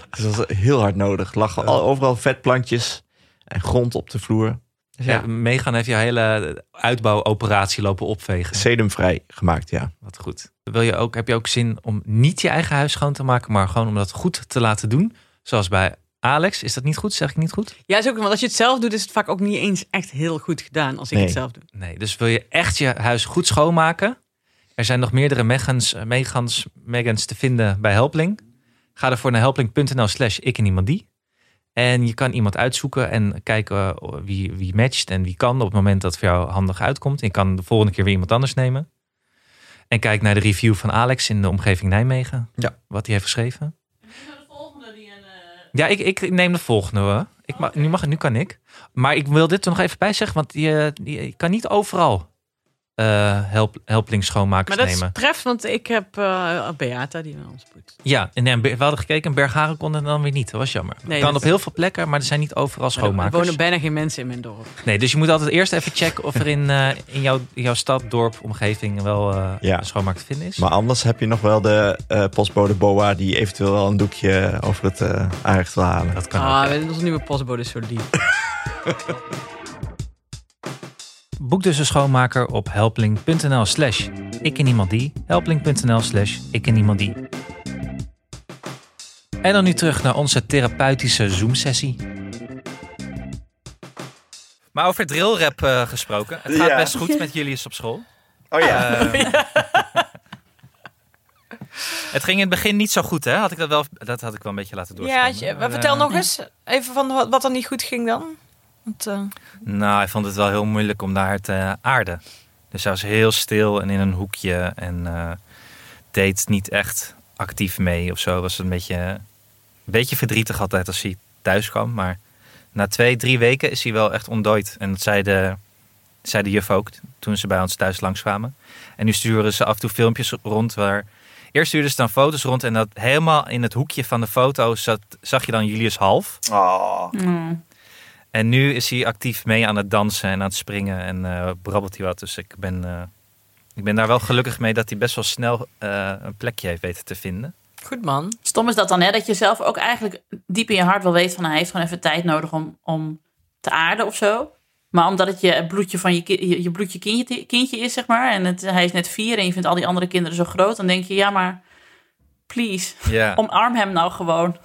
S1: dus dat was heel hard nodig. Lagen al- overal vetplantjes en grond op de vloer. Dus ja,
S3: Ja. Megan heeft je hele uitbouwoperatie lopen opvegen.
S1: sedumvrij gemaakt, ja.
S3: Wat goed. Wil je ook, heb je ook zin om niet je eigen huis schoon te maken, maar gewoon om dat goed te laten doen? Zoals bij Alex. Is dat niet goed? Zeg ik niet goed?
S2: Ja, is ook, want als je het zelf doet, is het vaak ook niet eens echt heel goed gedaan als ik
S1: Nee.
S2: het zelf doe.
S3: Nee. Dus wil je echt je huis goed schoonmaken? Er zijn nog meerdere Megans, eh, Megans, Megans te vinden bij Helpling. Ga ervoor naar helpling.nl slash ik en iemand die. En je kan iemand uitzoeken en kijken eh, wie, wie matcht en wie kan op het moment dat het voor jou handig uitkomt. En je kan de volgende keer weer iemand anders nemen. En kijk naar de review van Alex in de omgeving Nijmegen.
S1: Ja.
S3: Wat hij heeft geschreven. Ja, ik, ik neem de volgende. hoor. Ik mag, nu, mag, nu kan ik. Maar ik wil dit er nog even bij zeggen, want je, je, je kan niet overal eh help, helpling schoonmakers
S2: Maar dat
S3: nemen.
S2: treft, want ik heb eh, Beata die naar ons poetst.
S3: Ja, en nee, we hadden gekeken en Bergharen kon het dan weer niet. Dat was jammer.
S2: Nee,
S3: kan
S2: dat-
S3: op heel veel plekken, maar er zijn niet overal
S2: Maar er- Er
S3: schoonmakers.
S2: wonen bijna geen mensen in mijn dorp.
S3: Nee, dus je moet altijd eerst even checken of er in, eh, in, jouw, in jouw stad, dorp, omgeving wel eh,
S1: Ja.
S3: een schoonmaak te vinden is.
S1: Maar anders heb je nog wel de eh, postbode Boa... die eventueel wel een doekje over het eh aanrecht wil halen.
S3: dat kan ook.
S2: Ah, we- onze nieuwe postbode is zo lief.
S3: Boek dus een schoonmaker op helpling.nl slash ik en iemand die. Helpling.nl slash ik en iemand die. En dan nu terug naar onze therapeutische Zoom-sessie. Maar over drillrap eh, gesproken. Het gaat
S4: Ja.
S3: best goed met Julius op school.
S4: Oh ja.
S3: Het ging in het begin niet zo goed, hè? Had ik dat, wel, dat had ik wel een beetje laten
S5: Ja,
S3: doorschijnen.
S5: je-
S3: Maar,
S5: maar vertel
S3: eh,
S5: nog eens even van wat, wat er niet goed ging dan. Want, eh,
S3: Nou, hij vond het wel heel moeilijk om daar te aarden. Dus hij was heel stil en in een hoekje en eh, deed niet echt actief mee of zo. Was een beetje, een beetje verdrietig altijd als hij thuis kwam. Maar na twee, drie weken is hij wel echt ontdooid. En dat zei de, zei de juf ook toen ze bij ons thuis langskwamen. En nu sturen ze af en toe filmpjes rond waar... Eerst stuurden ze dan foto's rond en dat helemaal in het hoekje van de foto zat, zag je dan Julius half.
S4: Oh.
S3: En nu is hij actief mee aan het dansen en aan het springen en eh, brabbelt hij wat. Dus ik ben, eh, ik ben daar wel gelukkig mee dat hij best wel snel eh, een plekje heeft weten te vinden.
S5: goed man.
S2: Stom is dat dan, hè? Dat je zelf ook eigenlijk diep in je hart wel weet van... nou, hij heeft gewoon even tijd nodig om, om te aarden of zo. Maar omdat het je bloedje, van je, ki- je, je bloedje kindje, kindje is, zeg maar... en het, hij is net vier en je vindt al die andere kinderen zo groot... dan denk je, ja, maar please,
S3: Ja,
S2: omarm hem nou gewoon.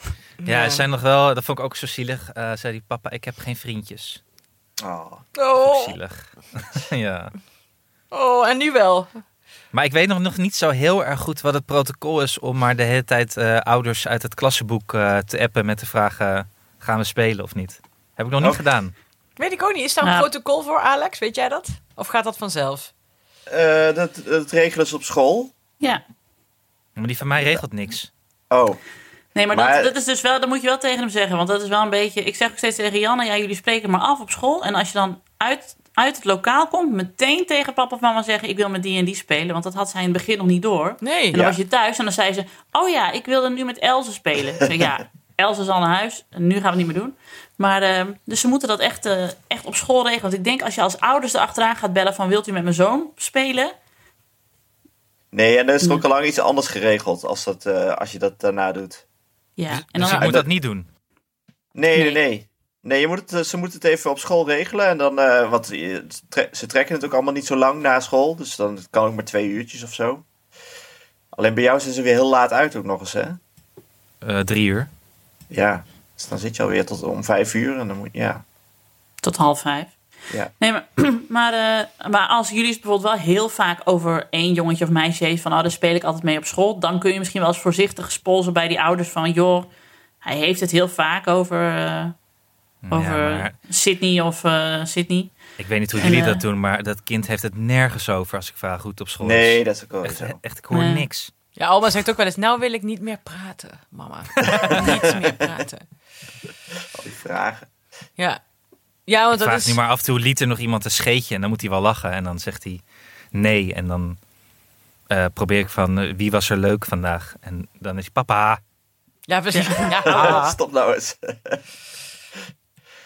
S3: ja er zijn nog wel, dat vond ik ook zo zielig. eh, zei hij, papa, ik heb geen vriendjes.
S4: Oh.
S3: Ook
S5: Oh,
S3: zielig. ja.
S5: oh, en nu wel.
S3: Maar ik weet nog, nog niet zo heel erg goed wat het protocol is om maar de hele tijd eh, ouders uit het klassenboek eh, te appen met de vraag, eh, gaan we spelen of niet? Heb ik nog niet
S4: Oh.
S3: gedaan.
S5: Weet ik ook niet. Is daar een
S2: Nou.
S5: protocol voor, Alex? Weet jij dat? Of gaat dat vanzelf?
S4: Eh, dat, dat regelen ze op school.
S2: Ja.
S3: Maar die van mij regelt niks.
S4: Oh.
S2: Nee, maar,
S4: Maar-
S2: dat, dat is dus wel, dat moet je wel tegen hem zeggen. Want dat is wel een beetje. Ik zeg ook steeds tegen Janne: ja, jullie spreken maar af op school. En als je dan uit, uit het lokaal komt, meteen tegen papa of mama zeggen: ik wil met die en die spelen. Want dat had zij in het begin nog niet door. En
S5: Nee.
S2: dan
S4: Ja.
S2: was je thuis en dan zei ze: oh ja, ik wilde nu met Elze spelen. Ik zei, ja, Elze is al naar huis. En nu gaan we het niet meer doen. Maar ehm, dus ze moeten dat echt, eh, echt op school regelen. Want ik denk als je als ouders erachteraan gaat bellen: van wilt u met mijn zoon spelen?
S4: Nee, en dan is er ook al lang iets anders geregeld als, dat, eh, als je dat daarna doet.
S2: Ja, en
S3: Dus
S2: dan,
S3: ik moet dat niet doen.
S4: Nee, nee,
S2: Nee.
S4: nee. Nee, je moet het, eh, ze moeten het even op school regelen. En dan, eh, want je- tre- ze trekken het ook allemaal niet zo lang na school. Dus dan het kan ook maar twee uurtjes of zo. Alleen bij jou zijn ze weer heel laat uit ook nog eens, hè?
S3: Eh, drie uur.
S4: Ja. Dus dan zit je alweer tot om vijf uur en dan moet ja.
S2: tot half vijf.
S4: Ja.
S2: Nee, maar, maar, eh, maar als jullie het bijvoorbeeld wel heel vaak over één jongetje of meisje heeft... van, oh, daar speel ik altijd mee op school... dan kun je misschien wel eens voorzichtig spolsen bij die ouders van... joh, hij heeft het heel vaak over, eh, over
S3: Ja, maar-
S2: Sydney of eh, Sydney.
S3: Ik weet niet hoe
S2: En,
S3: jullie
S2: eh,
S3: dat doen, maar dat kind heeft het nergens over als ik vraag hoe het op school
S4: Nee,
S3: is.
S4: dat is ook wel
S3: Echt,
S4: zo.
S3: echt, ik hoor
S2: Nee.
S3: niks.
S5: Ja, Alma zegt ook wel eens, nou wil ik niet meer praten, mama. niet meer praten.
S4: Al die vragen.
S5: Ja, ja want
S3: Ik
S5: dat
S3: vraag
S5: is...
S3: nu maar af en toe liet er nog iemand een scheetje en dan moet hij wel lachen. En dan zegt hij nee en dan eh, probeer ik van eh, wie was er leuk vandaag. En dan is hij papa.
S5: Ah.
S4: Ah.
S5: Ja, precies. Ja.
S4: Stop nou eens.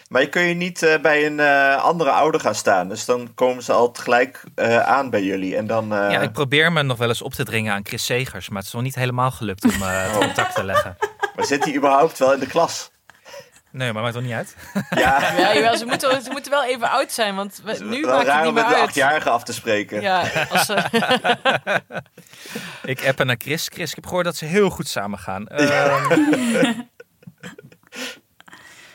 S4: Maar je kun je niet eh, bij een eh, andere ouder gaan staan. Dus dan komen ze al gelijk eh, aan bij jullie. En dan. eh,
S3: Ja, ik probeer me nog wel eens op te dringen aan Chris Segers, maar het is nog niet helemaal gelukt om eh,
S4: Oh.
S3: het contact te leggen.
S4: Maar zit hij überhaupt wel in de klas?
S3: Nee, maar maakt toch niet uit?
S4: Ja,
S5: Ja, jawel, ze, moeten, ze moeten wel even oud zijn, want we- nu
S4: wel
S5: maakt het
S4: raar
S5: niet
S4: om met
S5: meer
S4: de
S5: uit.
S4: achtjarige af te spreken.
S5: Ja, als ze-
S3: Ik appen naar Chris. Chris, ik heb gehoord dat ze heel goed samen gaan. Ehm,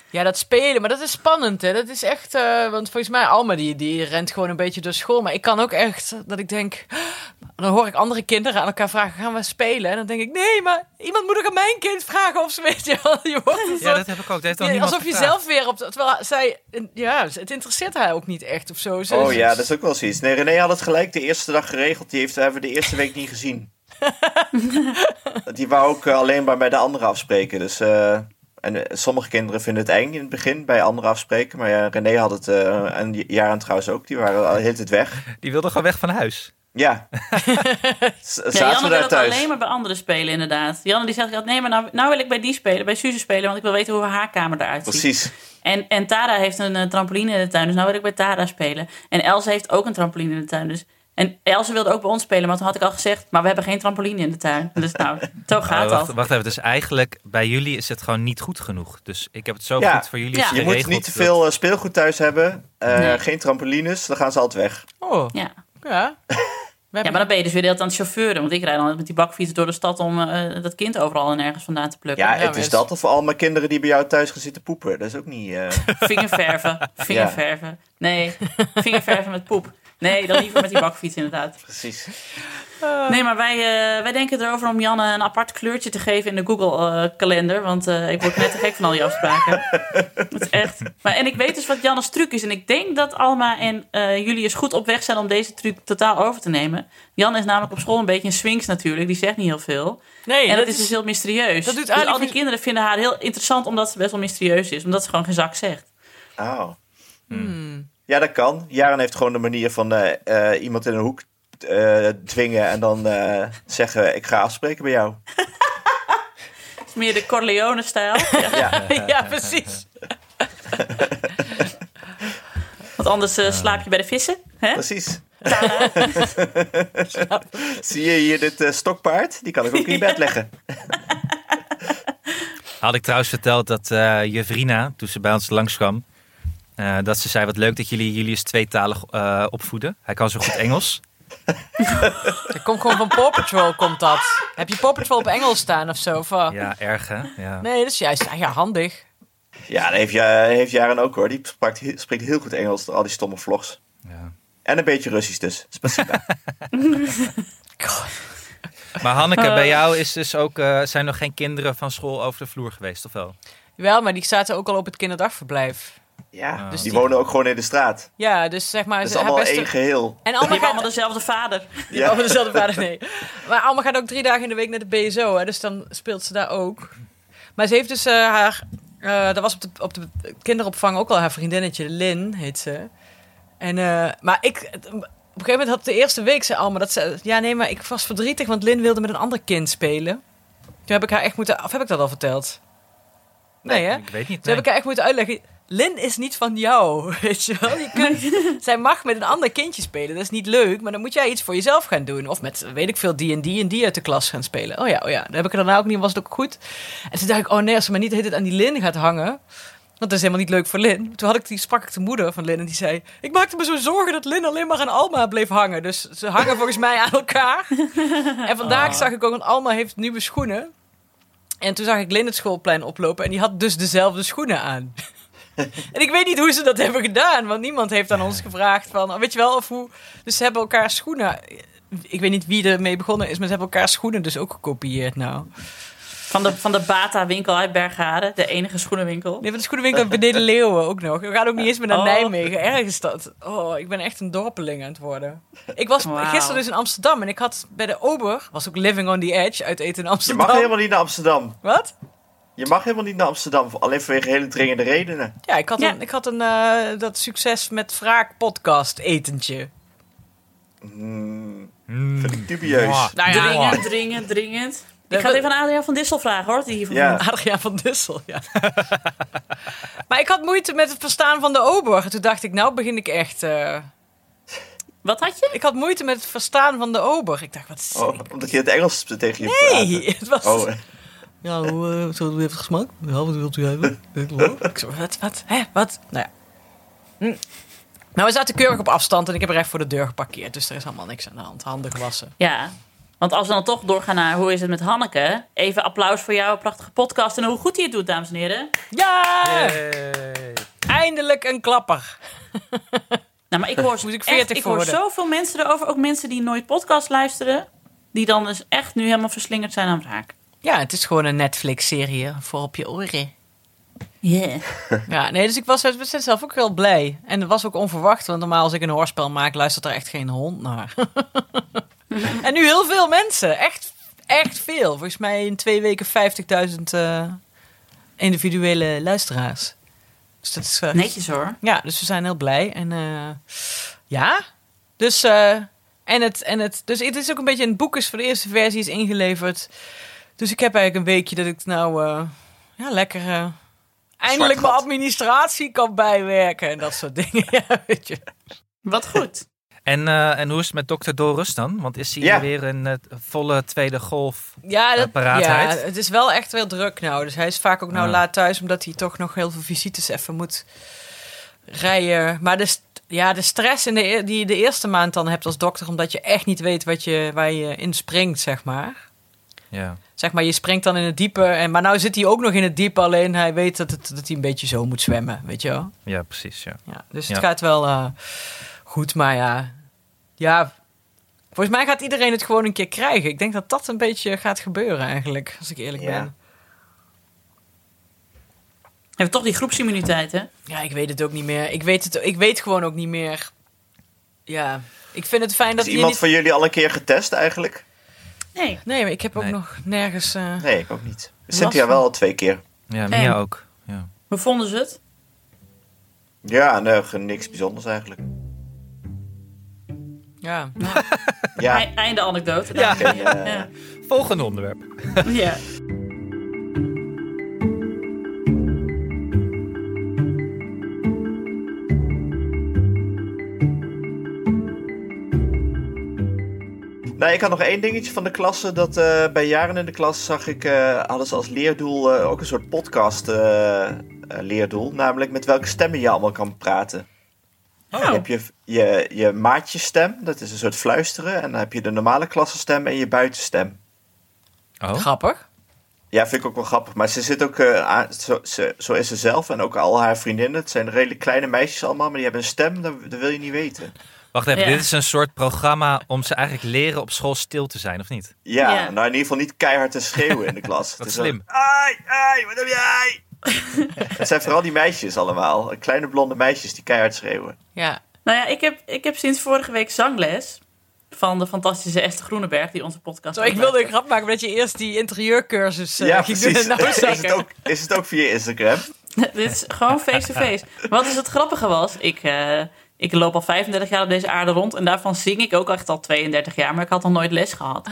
S5: ja, dat spelen, maar dat is spannend, hè. Dat is echt, eh, want volgens mij Alma, die, die rent gewoon een beetje door school. Maar ik kan ook echt, dat ik denk, "Ah, dan hoor ik andere kinderen aan elkaar vragen, gaan we spelen? En dan denk ik, nee, maar iemand moet ook aan mijn kind vragen of ze weet je wel. Je wordt een
S3: ja,
S5: soort-
S3: dat heb ik ook. Dat heeft dan
S5: Ja,
S3: niemand
S5: alsof je
S3: gevraagd.
S5: zelf weer op... de- Terwijl zij... Ja, het interesseert haar ook niet echt of zo. Ze-
S4: Oh
S5: ze-
S4: ja, dat is ook wel zoiets. Nee, René had het gelijk de eerste dag geregeld. Die heeft hebben we de eerste week niet gezien. die wou ook eh, alleen maar bij de anderen afspreken. Dus, eh, en eh, sommige kinderen vinden het eng in het begin bij anderen afspreken. Maar ja, René had het eh een jaar aan trouwens ook. Die waren al de hele tijd weg.
S3: Die wilde gewoon weg van huis.
S4: Ja. Z-
S2: Ja,
S4: Zaten
S2: Janne
S4: we
S2: wil
S4: daar
S2: het alleen
S4: thuis.
S2: maar bij anderen spelen, inderdaad. Janne die zegt altijd, nee, maar nou, nou wil ik bij die spelen, bij Suze spelen, want ik wil weten hoe haar kamer eruit ziet.
S4: Precies.
S2: En, en Tara heeft een eh, trampoline in de tuin, dus nou wil ik bij Tara spelen. En Else heeft ook een trampoline in de tuin, dus... En Else wilde ook bij ons spelen, maar toen had ik al gezegd... maar we hebben geen trampoline in de tuin. Dus nou, zo gaat
S3: Oh, wacht,
S2: dat.
S3: wacht even, dus eigenlijk bij jullie is het gewoon niet goed genoeg. Dus ik heb het zo
S4: Ja.
S3: goed voor jullie
S2: Ja.
S4: Je
S3: geregeld.
S4: moet niet te
S3: dat-
S4: veel eh, speelgoed thuis hebben. Eh,
S2: Nee.
S4: Geen trampolines, dan gaan ze altijd weg.
S5: Oh,
S2: Ja.
S5: ja. We
S2: ja,
S5: hebben-
S2: maar dan ben je dus weer de hele tijd aan het chauffeuren. Want ik rijd dan met die bakfiets door de stad om eh, dat kind overal en ergens vandaan te plukken.
S4: Ja,
S5: Ja,
S4: het is
S5: mensen.
S4: dat of al mijn kinderen die bij jou thuis gaan zitten poepen. Dat is ook niet... eh,
S2: Vingerverven, vingerverven. Nee, vingerverven met poep. Nee, dan liever met die bakfiets inderdaad.
S4: precies.
S5: Oh.
S2: Nee, maar wij, eh, wij denken erover om Janne een apart kleurtje te geven in de Google-kalender. want eh, ik word net te gek van al die afspraken. Dat is echt. Maar, en ik weet dus wat Janne's truc is. En ik denk dat Alma en eh Julius goed op weg zijn om deze truc totaal over te nemen. Jan is namelijk op school een beetje een swings natuurlijk. Die zegt niet heel veel.
S5: Nee,
S2: en dat,
S5: dat
S2: is
S5: is-
S2: dus heel mysterieus.
S5: dat doet
S2: dus al
S5: eigenlijk
S2: die
S5: niet-
S2: kinderen vinden haar heel interessant omdat ze best wel mysterieus is. Omdat ze gewoon geen zak zegt.
S4: Oh. Ja, dat kan. Jaren heeft gewoon de manier van eh, eh, iemand in een hoek eh, dwingen en dan eh, zeggen: Ik ga afspreken bij jou.
S2: Het is meer de Corleone-stijl. Ja.
S4: Ja,
S5: ja, precies.
S2: Want anders eh, slaap je bij de vissen. Hè?
S4: precies. Zie je hier dit eh, stokpaard? Die kan ik ook in je bed leggen.
S3: Had ik trouwens verteld dat eh Jevrina, toen ze bij ons langskwam, eh, dat ze zei: Wat leuk dat jullie Julius tweetalig eh, opvoeden. Hij kan zo goed Engels.
S5: Dat komt gewoon van Paw Patrol, komt dat. Heb je Paw Patrol op Engels staan of zo? Of, eh?
S3: Ja, erg hè? Ja.
S5: Nee, dat is juist ja, handig.
S4: Ja, dat heeft, Ja- heeft Jaren ook hoor. Die sprak- spreekt heel goed Engels door al die stomme vlogs.
S3: Ja.
S4: En een beetje Russisch dus. Spasiba.
S3: Maar Hanneke, bij jou is dus ook, eh, zijn nog geen kinderen van school over de vloer geweest, of wel?
S5: Wel, maar die zaten ook al op het kinderdagverblijf.
S4: Ja,
S5: Dus
S4: die
S5: die-
S4: wonen ook gewoon in de straat.
S5: Ja, dus zeg maar...
S4: Dat is
S5: ze- haar
S4: allemaal
S5: beste-
S4: één geheel.
S5: En
S2: Die
S5: Alma
S2: hebben
S5: gaat,
S2: allemaal dezelfde vader.
S5: ja.
S4: Ja.
S5: dezelfde vader, nee. Maar Alma gaat ook drie dagen in de week naar de BSO, hè, dus dan speelt ze daar ook. Maar ze heeft dus eh, haar... eh dat was op de, op de kinderopvang ook al haar vriendinnetje, Lin heet ze. En, eh, maar ik... Op een gegeven moment had de eerste week ze Alma dat ze... Ja, nee, maar ik was verdrietig, want Lin wilde met een ander kind spelen. Toen heb ik haar echt moeten... Of heb ik dat al verteld? Nee, hè?
S3: Ik weet niet.
S5: Toen
S3: nee.
S5: heb ik haar echt moeten uitleggen. Lin is niet van jou, weet je wel. Je kunt, zij mag met een ander kindje spelen. Dat is niet leuk, maar dan moet jij iets voor jezelf gaan doen. Of met, weet ik veel, die en die en die uit de klas gaan spelen. Oh ja, oh ja. Dat heb ik er daarna ook niet, was het ook goed. En toen dacht ik, oh nee, als ze maar niet de hele tijd aan die Lin gaat hangen... Want dat is helemaal niet leuk voor Lin. Toen had ik die, sprak ik de moeder van Lin en die zei... Ik maakte me zo zorgen dat Lin alleen maar aan Alma bleef hangen. Dus ze hangen volgens mij aan elkaar. En
S3: Ah.
S5: vandaag zag ik ook, want Alma heeft nieuwe schoenen. En toen zag ik Lin het schoolplein oplopen en die had dus dezelfde schoenen aan. en ik weet niet hoe ze dat hebben gedaan, want niemand heeft aan ons gevraagd van, oh, weet je wel, of hoe... Dus ze hebben elkaar schoenen... Ik weet niet wie ermee begonnen is, maar ze hebben elkaar schoenen dus ook gekopieerd nou.
S2: Van de, van de Bata-winkel uit Bergharen, de enige schoenenwinkel.
S5: Nee, van de schoenenwinkel beneden Leeuwen ook nog. We gaan ook niet eens meer naar
S2: Oh.
S5: Nijmegen. Erg is dat. Oh, ik ben echt een dorpeling aan het worden. Ik was
S2: Wauw.
S5: gisteren dus in Amsterdam en ik had bij de Ober... Was ook Living on the Edge uit Eten in
S4: Je
S5: Amsterdam.
S4: mag helemaal niet naar Amsterdam.
S5: Wat?
S4: Je mag helemaal niet naar Amsterdam. Alleen vanwege hele dringende redenen.
S5: Ja, ik had
S2: Ja.
S5: een, ik had een eh, dat succes met wraak podcast etentje.
S4: Hmm,
S3: Mm.
S4: dubieus.
S3: Mwah.
S4: Mm,
S5: Nou ja,
S3: Hmm. Mwah.
S2: Dringend, dringend, dringend. Ik ga het even aan Adriaan van Dissel vragen hoor. Die hiervan
S4: Ja.
S5: Adriaan van Dussel, ja. maar ik had moeite met het verstaan van de Ober. En Toen dacht ik, nou begin ik echt... eh,
S2: Wat had je?
S5: Ik had moeite met het verstaan van de Ober. Ik dacht, wat is...
S4: Oh, omdat je het Engels tegen je
S5: Nee, het was...
S4: praatte. Oh,
S5: Ja, hoe uh, heeft het gesmaakt? Ja, wat wilt u hebben? Ik hoor. Ik zo, wat, wat, hè, wat? Nou ja. Hm. Nou, we zaten keurig op afstand en ik heb recht voor de deur geparkeerd. Dus er is helemaal niks aan de hand. Handen gewassen.
S2: Ja. Want als we dan toch doorgaan naar hoe is het met Hanneke. Even applaus voor jouw prachtige podcast en hoe goed hij het doet, dames en heren.
S5: Ja!
S3: Yay.
S5: Eindelijk een klapper.
S2: Nou, maar ik hoor,
S5: Moest ik
S2: echt-
S5: 40
S2: ik
S5: voor
S2: hoor
S5: worden.
S2: zoveel mensen erover. Ook mensen die nooit podcast luisteren. Die dan dus echt nu helemaal verslingerd zijn aan het raak.
S5: Ja, het is gewoon een Netflix-serie eh, voor op je oren.
S2: Yeah.
S5: Ja, nee, dus ik was uit bezit zelf ook heel blij. En dat was ook onverwacht, want normaal als ik een hoorspel maak, luistert er echt geen hond naar. en nu heel veel mensen. Echt, echt veel. Volgens mij in twee weken 50.000 eh, individuele luisteraars. Dus dat is... eh,
S2: Netjes hoor.
S5: Ja, dus we zijn heel blij. En eh, ja, dus... eh, en het, en het, dus het is ook een beetje een boek is voor de eerste versie is ingeleverd. Dus ik heb eigenlijk een weekje dat ik nou eh, ja, lekker eh, eindelijk mijn
S4: gat.
S5: administratie kan bijwerken en dat soort dingen. Ja, weet je.
S2: Wat goed.
S3: En, eh, en hoe is het met dokter Dorus dan? Want is hij
S4: Ja.
S3: weer in eh, volle tweede golf?
S5: Ja, dat,
S3: Eh, paraatheid.
S5: ja, het is wel echt heel druk nou. Dus hij is vaak ook nou
S3: Ah.
S5: laat thuis, omdat hij toch nog heel veel visites even moet rijden. Maar de, st- ja, de stress in de, e- die je de eerste maand dan hebt als dokter, omdat je echt niet weet wat je, waar je in springt, zeg maar.
S3: Ja.
S5: Zeg maar, je springt dan in het diepe. En, maar nou zit hij ook nog in het diepe, alleen hij weet dat, het, dat hij een beetje zo moet zwemmen, weet je wel.
S3: ja, precies. Ja.
S5: Ja, dus het
S3: Ja.
S5: gaat wel eh, goed, maar ja. Ja, volgens mij gaat iedereen het gewoon een keer krijgen. Ik denk dat dat een beetje gaat gebeuren eigenlijk, als ik eerlijk
S4: Ja.
S5: ben.
S2: We hebben toch die groepsimmuniteit, hè?
S5: Ja, ik weet het ook niet meer. Ik weet het ik weet gewoon ook niet meer. Ja, ik vind het fijn dat
S4: is
S5: je
S4: iemand
S5: niet...
S4: van jullie al een keer getest eigenlijk?
S2: Nee.
S5: Nee, maar ik heb ook
S3: Nee.
S5: nog nergens... eh,
S4: Nee, ik ook niet.
S5: Lastig.
S4: Cynthia wel al twee keer.
S3: Ja,
S2: En?
S3: Mia ook. Ja.
S2: Hoe vonden ze het?
S4: Ja, nee, ge- niks bijzonders eigenlijk.
S5: Ja.
S4: Ja, eh.
S2: Ei- Einde anekdote.
S3: Ja.
S2: dames en heren.
S4: Ja.
S2: ja.
S3: Volgende onderwerp.
S2: Ja.
S4: Nou, ik had nog één dingetje van de klasse. Dat eh, bij jaren in de klas zag ik, eh, hadden ze als leerdoel eh, ook een soort podcast eh, eh, leerdoel. Namelijk met welke stemmen je allemaal kan praten.
S2: Oh.
S4: Je hebt je, je, je maatjesstem, dat is een soort fluisteren. En dan heb je de normale klassenstem en je buitenstem.
S3: Oh.
S5: Grappig.
S4: Ja, vind ik ook wel grappig. Maar ze zit ook, eh, aan- zo, ze- zo is ze zelf en ook al haar vriendinnen. Het zijn redelijk kleine meisjes allemaal, maar die hebben een stem, dat, dat wil je niet weten.
S3: Wacht even,
S2: Ja.
S3: dit is een soort programma om ze eigenlijk leren op school stil te zijn, of niet?
S4: Ja,
S2: Ja.
S4: nou in ieder geval niet keihard te schreeuwen in de klas. Het
S3: Wat
S4: is
S3: slim.
S4: wel- Ai, ai, wat heb jij? het zijn vooral die meisjes allemaal. Kleine blonde meisjes die keihard schreeuwen.
S5: Ja.
S2: Nou ja, ik heb, ik heb sinds vorige week zangles van de fantastische Esther Groeneberg, die onze podcast
S5: Zo, ik wilde een grap maken dat je eerst die interieurcursus eh,
S4: ja,
S5: ging
S4: precies.
S5: doen. Nou,
S4: is, het
S5: zeker.
S4: ook, is het ook via Instagram?
S2: Dit is gewoon face-to-face. Wat dus het grappige was, ik, eh, ik loop al 35 jaar op deze aarde rond. En daarvan zing ik ook echt al 32 jaar, maar ik had nog nooit les gehad.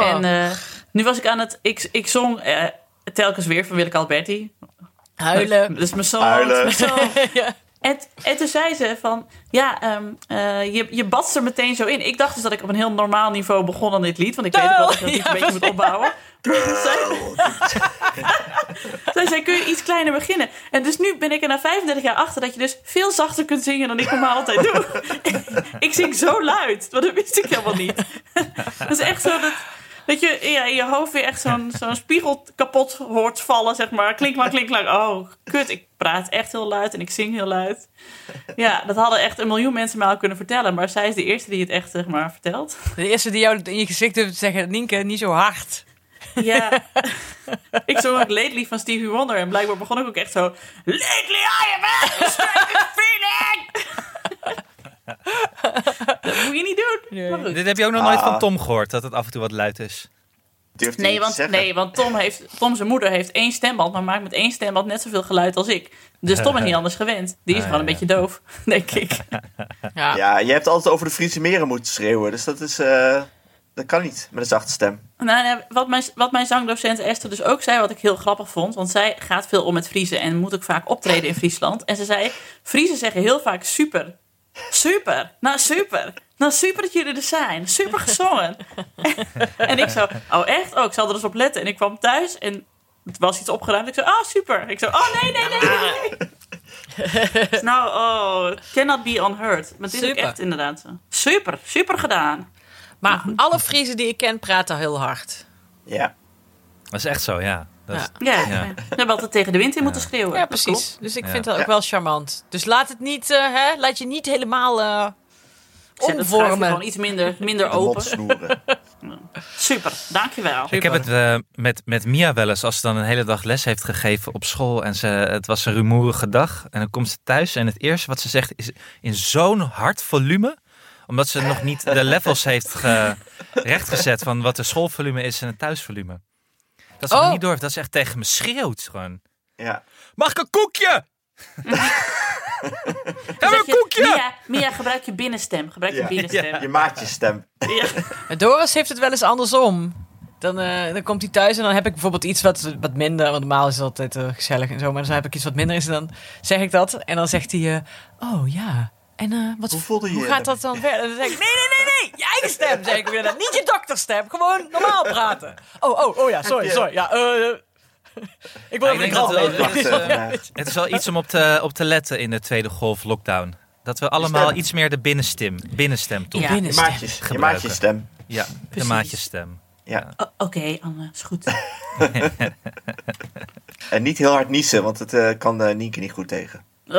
S5: Oh.
S2: En eh, nu was ik aan het... Ik, ik zong eh, telkens weer van Willeke Alberti.
S5: Huilen.
S2: Dus mijn zoon.
S4: Huilen.
S2: Mijn zoon.
S5: ja.
S2: En, en toen zei ze van, ja, ehm, eh, je, je badst er meteen zo in. Ik dacht dus dat ik op een heel normaal niveau begon aan dit lied. Want ik weet ook wel dat ik dat lied
S5: Ja,
S2: een beetje moet opbouwen. Toen zei, toen zei, kun je iets kleiner beginnen? En dus nu ben ik er na 35 jaar achter dat je dus veel zachter kunt zingen dan ik normaal altijd doe. ik zing zo luid, want dat wist ik helemaal niet. dat is echt zo dat... Dat je ja, in je hoofd weer echt zo'n zo'n spiegel kapot hoort vallen, zeg maar. Klink maar, klink maar. Oh, kut, ik praat echt heel luid en ik zing heel luid. Ja, dat hadden echt een miljoen mensen mij al kunnen vertellen. Maar zij is de eerste die het echt, zeg maar, vertelt.
S5: De eerste die jou in je gezicht durft te zeggen, Nienke, niet zo hard.
S2: Ja. ik zong ook Lately van Stevie Wonder. En blijkbaar begon ik ook echt zo... Lately I am having a strange feeling! dat moet je niet doen.
S5: Nee.
S2: Maar goed.
S3: Dit heb je ook nog nooit
S4: Ah.
S3: van Tom gehoord, dat het af en toe wat luid is.
S4: Durft hij
S2: Nee
S4: niet te
S2: want,
S4: zeggen.
S2: nee, want Tom, heeft, Tom zijn moeder heeft één stemband, maar maakt met één stemband net zoveel geluid als ik. Dus Tom is niet anders gewend. Die is
S3: Ah,
S2: gewoon een
S3: ja,
S2: beetje doof, denk ik.
S5: Ja.
S4: Ja, je hebt altijd over de Friese meren moeten schreeuwen. Dus dat is... eh, Dat kan niet met een zachte stem.
S2: Nou, nou, wat, mijn, wat mijn zangdocent Esther dus ook zei, wat ik heel grappig vond. Want zij gaat veel om met Friese en moet ook vaak optreden in Friesland. En ze zei: Friese zeggen heel vaak super. Super. Nou, super. Nou, super dat jullie er zijn. Super gezongen. en ik zo: Oh, echt? Oh, ik zal er eens op letten. En ik kwam thuis en het was iets opgeruimd. Ik zo: Oh, super. Ik zo: Oh, nee, nee, nee. nee, nee. nou, oh, cannot be unheard. Maar het is ook
S5: Super.
S2: echt inderdaad zo. Super, super gedaan.
S5: Maar
S3: Mhm.
S5: alle Friese die ik ken praten heel hard.
S4: Ja.
S3: Dat is echt zo, ja. Dat is-
S2: Ja,
S3: Ja.
S2: ja. we hebben altijd tegen de wind in moeten schreeuwen.
S5: Ja,
S2: Dat
S5: precies.
S2: klopt.
S5: Dus ik
S3: Ja.
S5: vind dat ook
S4: Ja.
S5: wel charmant. Dus laat het niet, eh, hè, laat je niet helemaal eh
S2: Ik zet het schuifje
S5: omvormen.
S2: Gewoon iets minder, minder
S4: De mond
S2: open.
S4: snoeren.
S2: Super, dankjewel.
S3: Ik heb het eh, met, met Mia wel eens, als ze dan een hele dag les heeft gegeven op school en ze, het was een rumoerige dag. En dan komt ze thuis en het eerste wat ze zegt is in zo'n hard volume, omdat ze nog niet de levels heeft ge- rechtgezet van wat de schoolvolume is en het thuisvolume. Dat ze nog
S5: Oh.
S3: niet door, dat ze echt tegen me schreeuwt gewoon.
S4: Ja.
S3: Mag ik een koekje? Heb een
S2: Zeg je,
S3: koekje!
S2: Mia, Mia, gebruik je binnenstem. Gebruik je
S4: Ja.
S2: binnenstem.
S4: Je maakt je stem.
S2: Ja.
S5: Maar Doris heeft het wel eens andersom. Dan, eh, dan komt hij thuis en dan heb ik bijvoorbeeld iets wat, wat minder. Want normaal is het altijd eh, gezellig en zo. Maar dan heb ik iets wat minder is en dan zeg ik dat. En dan zegt hij, eh, oh ja. En eh, wat,
S4: Hoe voelde je
S5: hoe
S4: je
S5: gaat dat dan verder? En dan zeg ik, nee, nee, nee, nee. Je eigen stem, zeg ik weer. dan. Niet je dokterstem. Gewoon normaal praten. Oh, oh, oh ja, sorry,
S4: Ja.
S5: sorry. Ja, eh, eh. ik wil
S3: Ja, ik
S5: even de
S3: denk
S5: krant
S3: dat het wel
S5: lezen.
S4: Wacht, eh, maar-
S3: Het is wel iets om op te, op te letten in de tweede golf lockdown. Dat we allemaal
S4: Stem.
S3: iets meer de binnenstem, binnenstem toe.
S2: Ja.
S3: Ja,
S4: je
S5: Binnenstem.
S4: maakt je, je, maakt je stem.
S3: de
S2: Precies.
S3: maatjesstem.
S4: Ja.
S2: O- Oh, Oké, Anne, is goed.
S4: En niet heel hard niezen, want het eh, kan eh Nienke niet goed tegen.
S2: Oh.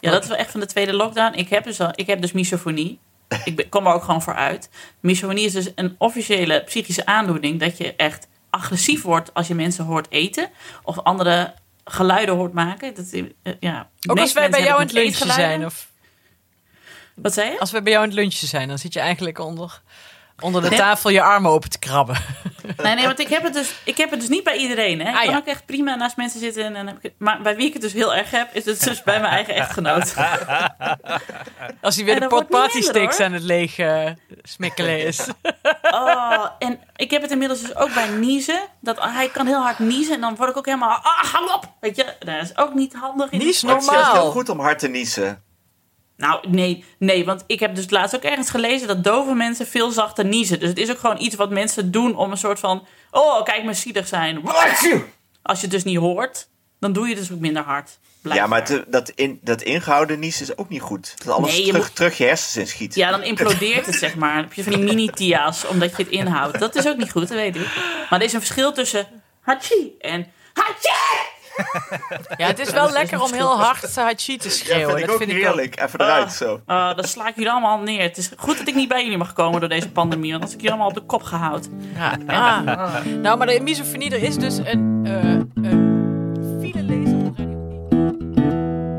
S2: Ja, dat is wel echt van de tweede lockdown. Ik heb dus, al, ik heb dus misofonie. Ik ben- kom er ook gewoon voor uit. Misofonie is dus een officiële psychische aandoening dat je echt agressief wordt als je mensen hoort eten of andere geluiden hoort maken. Dat, eh, ja.
S5: Ook als wij bij jou aan het lunchen
S2: lunch
S5: zijn. Of
S2: Wat zei je?
S5: als wij bij jou aan het lunchen zijn, dan zit je eigenlijk onder, onder de
S2: Ja.
S5: tafel je armen open te krabben.
S2: Nee, nee, want ik heb het dus, ik heb het dus niet bij iedereen. Hè. Ik
S5: Ah,
S2: kan
S5: ja.
S2: ook echt prima naast mensen zitten. En, dan heb ik, het- maar bij wie ik het dus heel erg heb, is het dus bij mijn eigen echtgenoot.
S5: Als hij weer
S2: En
S5: de
S2: dat
S5: pot
S2: wordt niet
S5: party
S2: minder,
S5: sticks
S2: hoor.
S5: aan het leeg eh, smikkelen is.
S2: Oh, en ik heb het inmiddels dus ook bij niezen. Dat, hij kan heel hard niezen en dan word ik ook helemaal... Ah, hou op! Weet je, dat is ook niet handig. in-
S5: Nies
S4: Maar Het is juist heel
S5: normaal.
S4: goed om hard te niezen.
S2: Nou, nee, nee, want ik heb dus laatst ook ergens gelezen dat dove mensen veel zachter niezen. Dus het is ook gewoon iets wat mensen doen om een soort van... Oh, kijk me zielig zijn. Als je het dus niet hoort, dan doe je het dus ook minder hard.
S4: Ja,
S2: blijkbaar.
S4: maar het, dat, in, dat ingehouden niezen is ook niet goed. Dat alles
S2: Nee, je
S4: terug,
S2: moet-
S4: terug je hersens in schiet.
S2: Ja, dan implodeert het, zeg maar. Dan heb je van die mini-tia's, omdat je het inhoudt. Dat is ook niet goed, dat weet ik. Maar er is een verschil tussen hachi en hachi!
S5: Ja, het is wel
S2: is
S5: lekker
S2: een
S5: om heel hard eh, hachi te
S4: Ja,
S5: schreeuwen.
S4: vind ik
S5: dat
S4: ook
S5: vind ik ook.
S4: heerlijk. Even eruit, zo.
S2: Ah, dan sla ik jullie allemaal neer. Het is goed dat ik niet bij jullie mag komen door deze pandemie, want dan had ik jullie allemaal op de kop gehouden.
S5: Ja. Ah. Nou, maar de misofonie, er is dus een, eh een file lezer op Radio 1.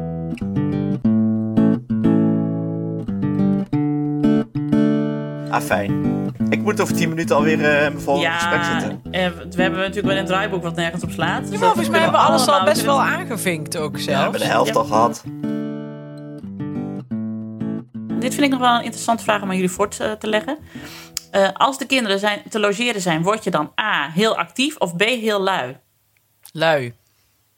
S4: Ah, fijn. Ik moet over 10 minuten alweer eh in mijn volgende gesprek
S2: Ja,
S4: zitten.
S2: eh, we hebben natuurlijk wel een draaiboek wat nergens op slaat. Dus
S5: Ja,
S2: dat
S5: maar volgens mij hebben we
S2: kunnen
S5: alles al
S2: allemaal-
S5: best wel aangevinkt ook
S4: Ja, we hebben
S5: zelfs.
S4: de helft
S2: Ja.
S4: al gehad.
S2: Dit vind ik nog wel een interessante vraag om aan jullie voor te, te leggen. Eh, als de kinderen zijn, te logeren zijn, word je dan A, heel actief of B, heel lui?
S5: Lui.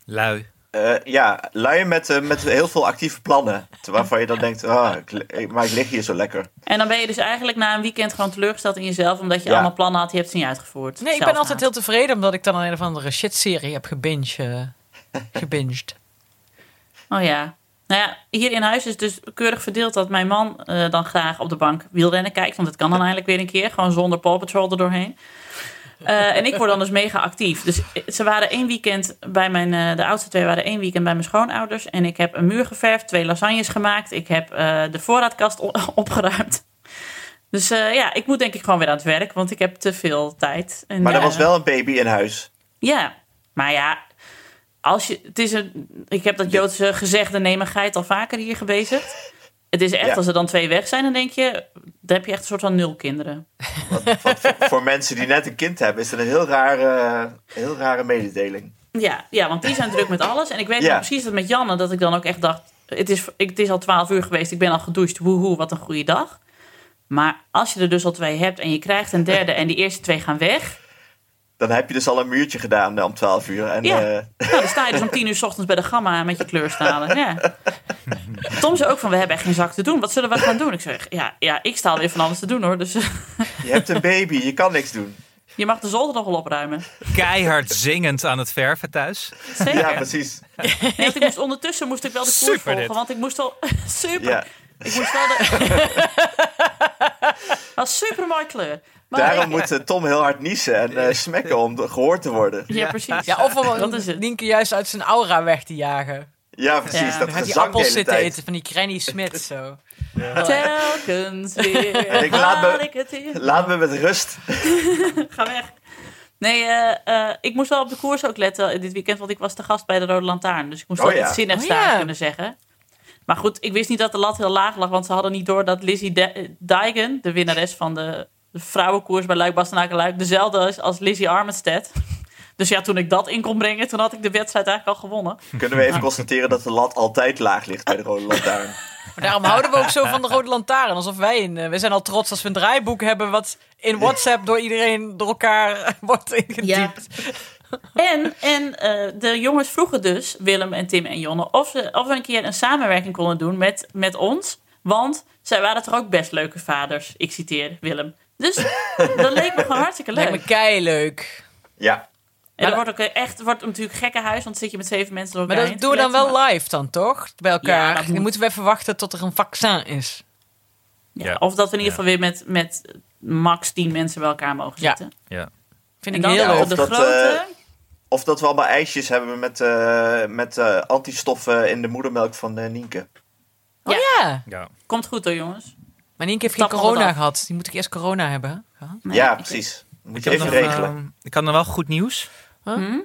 S3: Lui.
S4: Eh, ja, luien met, eh, met heel veel actieve plannen. Te- Waarvan je dan denkt, ah, ik li- ik- maar ik lig hier zo lekker.
S2: En dan ben je dus eigenlijk na een weekend gewoon teleurgesteld in jezelf, omdat je
S4: Ja.
S2: allemaal plannen had, die hebt ze niet uitgevoerd.
S5: Nee, ik ben
S2: Zelfhaat.
S5: altijd heel tevreden omdat ik dan een of andere shit-serie heb gebinged. eh, gebinged.
S2: Oh ja. Nou ja, hier in huis is dus keurig verdeeld dat mijn man eh, dan graag op de bank wielrennen kijkt. Want dat kan dan eigenlijk weer een keer, gewoon zonder Paw Patrol er doorheen. Eh, en ik word dan dus mega actief. Dus eh, ze waren één weekend bij mijn, eh, de oudste twee waren één weekend bij mijn schoonouders. En ik heb een muur geverfd, twee lasagnes gemaakt. Ik heb eh, de voorraadkast o- opgeruimd. Dus eh, ja, ik moet denk ik gewoon weer aan het werk, want ik heb te veel tijd. En, eh,
S4: Maar er
S2: ja.
S4: was wel een baby in huis.
S2: Ja, maar ja, als je, het is een, ik heb dat Joodse gezegde nemigheid al vaker hier gebezigd. Het is echt,
S4: Ja.
S2: als er dan twee weg zijn, dan denk je, dan heb je echt een soort van nul kinderen.
S4: Wat voor, voor mensen die net een kind hebben, is dat een heel rare, heel rare mededeling.
S2: Ja, ja, want die zijn druk met alles. En ik weet
S4: Ja.
S2: nog precies dat met Janne, dat ik dan ook echt dacht, het is, ik, het is al twaalf uur geweest, ik ben al gedoucht, woehoe, wat een goede dag. Maar als je er dus al twee hebt en je krijgt een derde en die eerste twee gaan weg.
S4: Dan heb je dus al een muurtje gedaan eh, om 12 uur. En,
S2: Ja.
S4: eh,
S2: Nou, dan sta je dus om tien uur 's ochtends bij de gamma met je kleurstalen. Ja. Tom zei ook van, we hebben echt geen zak te doen. Wat zullen we gaan doen? Ik zeg, ja, ja ik sta alweer van alles te doen hoor. Dus
S4: je hebt een baby, je kan niks doen.
S2: je mag de zolder nog wel opruimen.
S3: Keihard zingend aan het verven thuis.
S2: Zeker.
S4: Ja, precies.
S2: Nee, want ik moest, ondertussen moest ik wel de koers
S3: Super
S2: volgen.
S3: dit.
S2: Want ik moest wel... super.
S4: Ja.
S2: Ik moest wel de... Dat was super mooi kleur. Maar
S4: Daarom moet eh, Tom heel hard niezen en eh, smekken om de- gehoord te worden.
S2: Ja, precies.
S5: Ja, of om
S2: Dat is het.
S5: Nienke juist uit zijn aura weg te jagen.
S4: Ja, precies.
S2: Ja.
S4: Dat
S5: Dan
S4: gezang
S5: gaat hij
S4: de
S5: appels
S4: hele
S5: zitten
S4: tijd.
S5: eten van die Granny Smith zo.
S2: Telkens weer.
S4: En ik laat me-
S2: haal ik het in.
S4: Laat me met rust.
S2: Ga weg. Nee, eh, eh, ik moest wel op de koers ook letten dit weekend, want ik was te gast bij de Rode Lantaarn. Dus ik moest
S4: Oh
S2: wel
S4: ja.
S2: iets zinnigs
S5: Oh
S2: daar
S5: ja.
S2: kunnen zeggen. Maar goed, ik wist niet dat de lat heel laag lag, want ze hadden niet door dat Lizzie De- Dijken, de winnares van de vrouwenkoers bij Luik Bastenaken Luik, dezelfde is als Lizzie Armstead. Dus ja, toen ik dat in kon brengen, toen had ik de wedstrijd eigenlijk al gewonnen.
S4: Kunnen we even constateren dat de lat altijd laag ligt bij de Rode Lantaarn?
S5: Maar daarom houden we ook zo van de Rode Lantaarn. Alsof wij een... eh, we zijn al trots als we een draaiboek hebben... wat in WhatsApp door iedereen door elkaar wordt ingetypt.
S2: En, en eh, de jongens vroegen dus, Willem en Tim en Jonne, of, ze, of we een keer een samenwerking konden doen met, met ons. Want zij waren toch ook best leuke vaders. Ik citeer Willem. Dus dat leek me gewoon hartstikke leuk.
S5: Lijkt me keileuk.
S4: Ja.
S2: En dat wordt ook echt wordt natuurlijk gekke huis, want dan zit je met zeven mensen door
S5: Maar
S2: elkaar
S5: dat
S2: heen
S5: doen we
S2: te
S5: dan
S2: kletsen,
S5: wel live dan, toch? Bij
S2: Ja,
S5: elkaar.
S2: dat moet.
S5: Dan moeten we even wachten tot er een vaccin is.
S2: maar-
S3: Ja.
S2: Ja, of dat we in ieder geval weer met, met max tien mensen bij elkaar mogen
S5: Ja.
S2: zitten.
S3: Ja.
S5: Vind
S2: En
S5: ik
S2: dan
S5: heel
S4: Ja,
S5: leuk.
S2: op
S4: of
S2: de
S4: dat, eh,
S2: grote...
S4: Of dat we allemaal ijsjes hebben met, eh, met eh, antistoffen in de moedermelk van eh, Nienke.
S5: Oh ja.
S3: ja.
S2: Komt goed hoor jongens.
S5: Maar Nienke heeft geen
S2: Tappen we
S5: corona
S2: dat.
S5: gehad. Die moet ik eerst corona hebben. Huh?
S2: Nee,
S4: ja,
S2: ik-
S4: precies. Moet
S3: Ik
S4: je
S3: heb,
S4: even
S3: nog,
S4: regelen.
S3: ehm, ik had nog wel goed nieuws.
S5: Huh?
S2: Hm?